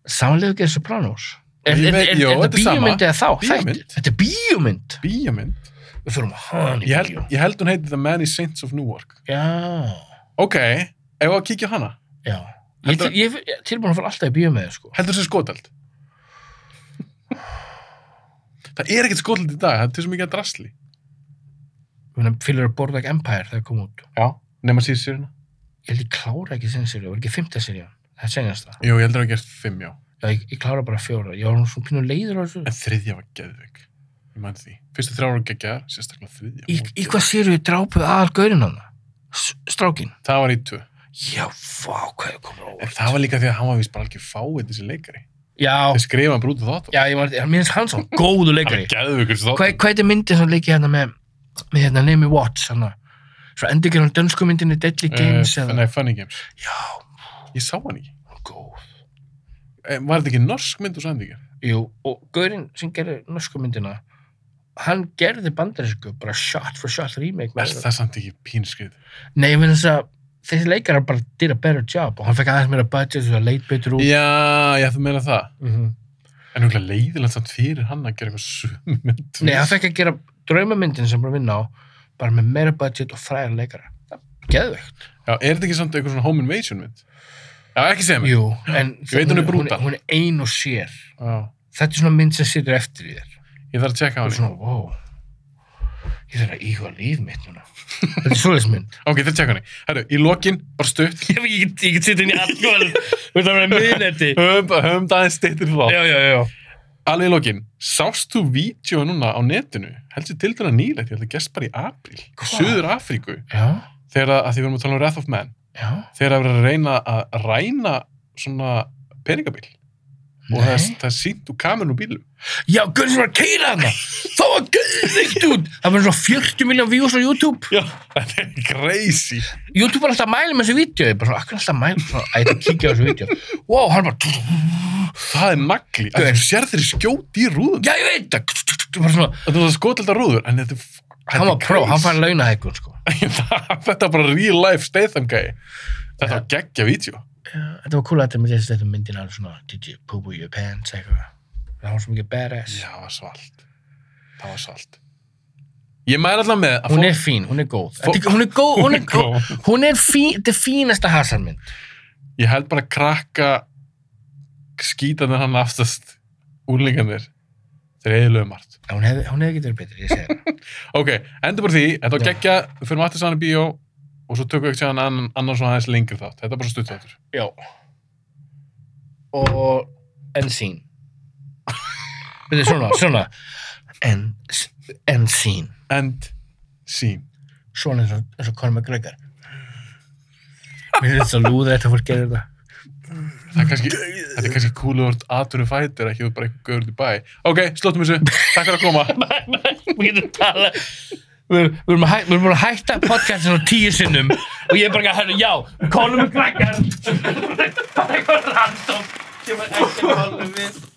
samanlega gerir Sopranos er,
Ég
er,
veit-
er, er,
jú,
þetta
þetta er sama.
bíómynd eða þá?
Bíómynd.
Þættir? Þetta er bíómynd
Bíjamind?
við þurfum að hafa hann í
Ég held,
bíó
ég held hún heiti The Man is Saints of Newark.
já,
Ok, ef að kíkja á hana,
já Ég,
Heldur-
ég, ég tilbúin að fara alltaf í bíó með þér sko.
heldur þessi skotald? það er ekkert skotald í dag, það er til svo mikið að drasli.
Fylgur að borða ekki Empire þegar kom út.
Já. Nefn að síða sérina?
Ég held ég klára ekki sinni seríu, var ekki fymta seríu. Það er senjast það.
Jú, ég heldur að hafa gert fimm, já.
Já, ég, ég klára bara fjóra. Ég var nú svona pínu leiður á þessu.
En þriðja var geðvig. Ég man því. Fyrstu þrjára geggjaðar, sérstaklega þriðja.
Í,
Hún-
í hvað seríu drápuð aðal gaurinn hann? Strákin?
Það var í tvö.
Já, vá, hvað ég komur á
En
óvart.
það var líka því að hann var vist bara algjör fáið þessi leikari.
Já,
Þeir skrifa hann brútið þátt.
já, ég var þetta. Mér finnst hann svo góðu
Hann
leikari.
er geðvigur þessi
Hvað,
þátt.
hvað er þetta myndin sem leikir hérna með, með hérna Naomi Watts? Hana? Svo endur gerir hann dönsku myndinni Deadly Games eða?
Eh, Nei, Funny Games.
Eh, Já,
Ég sá hann ekki.
hún er góð.
Eh, Var þetta ekki norsk mynd og sændi ekki?
Jú, og gaurinn sem gerir norsku myndina, hann gerði bandarísku bara shot for shot remake. með
Er
öðru.
það samt ekki pínskrið?
Nei, ég finn þess að þessi leikar bara did a better job og hann fekk aðeins meira budget og það leit betur út.
Já, ég ætti að meina það.
Mm -hmm.
En huglega leiðilegt samt fyrir hann að gera eitthvað sömu mynd.
Nei, hann fekk að gera draumamyndin sem bara vinna á bara með meira budget og fræðar leikara. Það er geðveikt.
Já, er þetta ekki samt eitthvað svona home invasion mynd? Já, ekki segja mig.
Jú, en
Ég veit hún er
hún,
brútal.
hún er ein og sér.
Já,
Þetta er svona mynd sem situr eftir í þér.
ég þarf að tjekka á
Og
hann.
svona, wow, ég þarf að íhuga líf mitt núna. Þetta er svoleiðis mynd.
Ok, ég þarf að tjekka á hann. Herru, í lokin, bara stutt.
Ég get, ég get sitt inn í allkvöld. Þú veist að vera miðnetti.
Höfum höfum daginn stittir þá.
Já, já, já.
Alveg í lokin, sást þú vídeo núna á netinu? Heldur til dæla nýlegt, ég held að gest bara í apríl.
Hvað?
Suður Afríku,
Já,
þegar að, að því við erum að tala um Wrath of Man.
já.
þegar að vera að reyna að ræna svona peningabil og það,
Nei.
það er sínt úr kamerun úr bílum
Já, gaurinn sem var að keira hana Það var gauðvikt út Það var svona 40 miljón views á YouTube
já. það er crazy
YouTube var alltaf að mæla með þessu vídeo Ég bara svona, akkur alltaf að mæla svona, Æ, það kíkja á þessu vídeo Wow, hann bara
það er nagli, að
Gaur.
þú sér þeirri skjóti í rúðun
Já, ég veit það Bara svona
þetta var skotildar rúður en þetta, er f-
Hann var
þetta
pró, hann fær launahækun sko
laun þetta var bara real life Statham gæi þetta var geggja vídeo
Þetta var cool að þetta með þessu þetta myndin alveg svona Did you poo poo your pants, eitthvað Það var svo mikið badass
já, það var svalt það var svalt ég mæla alltaf með að
Hún er fín, hún er góð
Fó-
Þetta er- Hún er góð, hún er góð
fólk
Hún er fín, þetta er fínasta hasarmynd
ég held bara að krakka skítanir hann aftast úrlingarnir þeir eðilögum margt
Hún hefði hún hefði getið verið betri, ég segi það
Ok, endur bara því, þetta var
Já.
geggja, við fyrir aftur saman í bíó og svo tökum við ekki saman annan, annan svona aðeins lengri þátt. Þetta er bara stutt þáttur.
Já Og En sín Þetta er svona, svona En, en sín
End scene.
Svona eins og, eins og Conor McGregor Mér finnst það lúða þetta fólk gerir þetta
Það er kannski, þetta er kannski kúlu vort aðtunum fætur, ekki þú bara eitthvað gaur út í bæ. Ok, slóttum þessu, takk fyrir að koma.
Við getum tala Við við erum að hæ- við erum búin að hætta podcastin á tíu sinnum og ég er bara að hætta, já, Conor McGregor Það er eitthvað random sem er ekki að við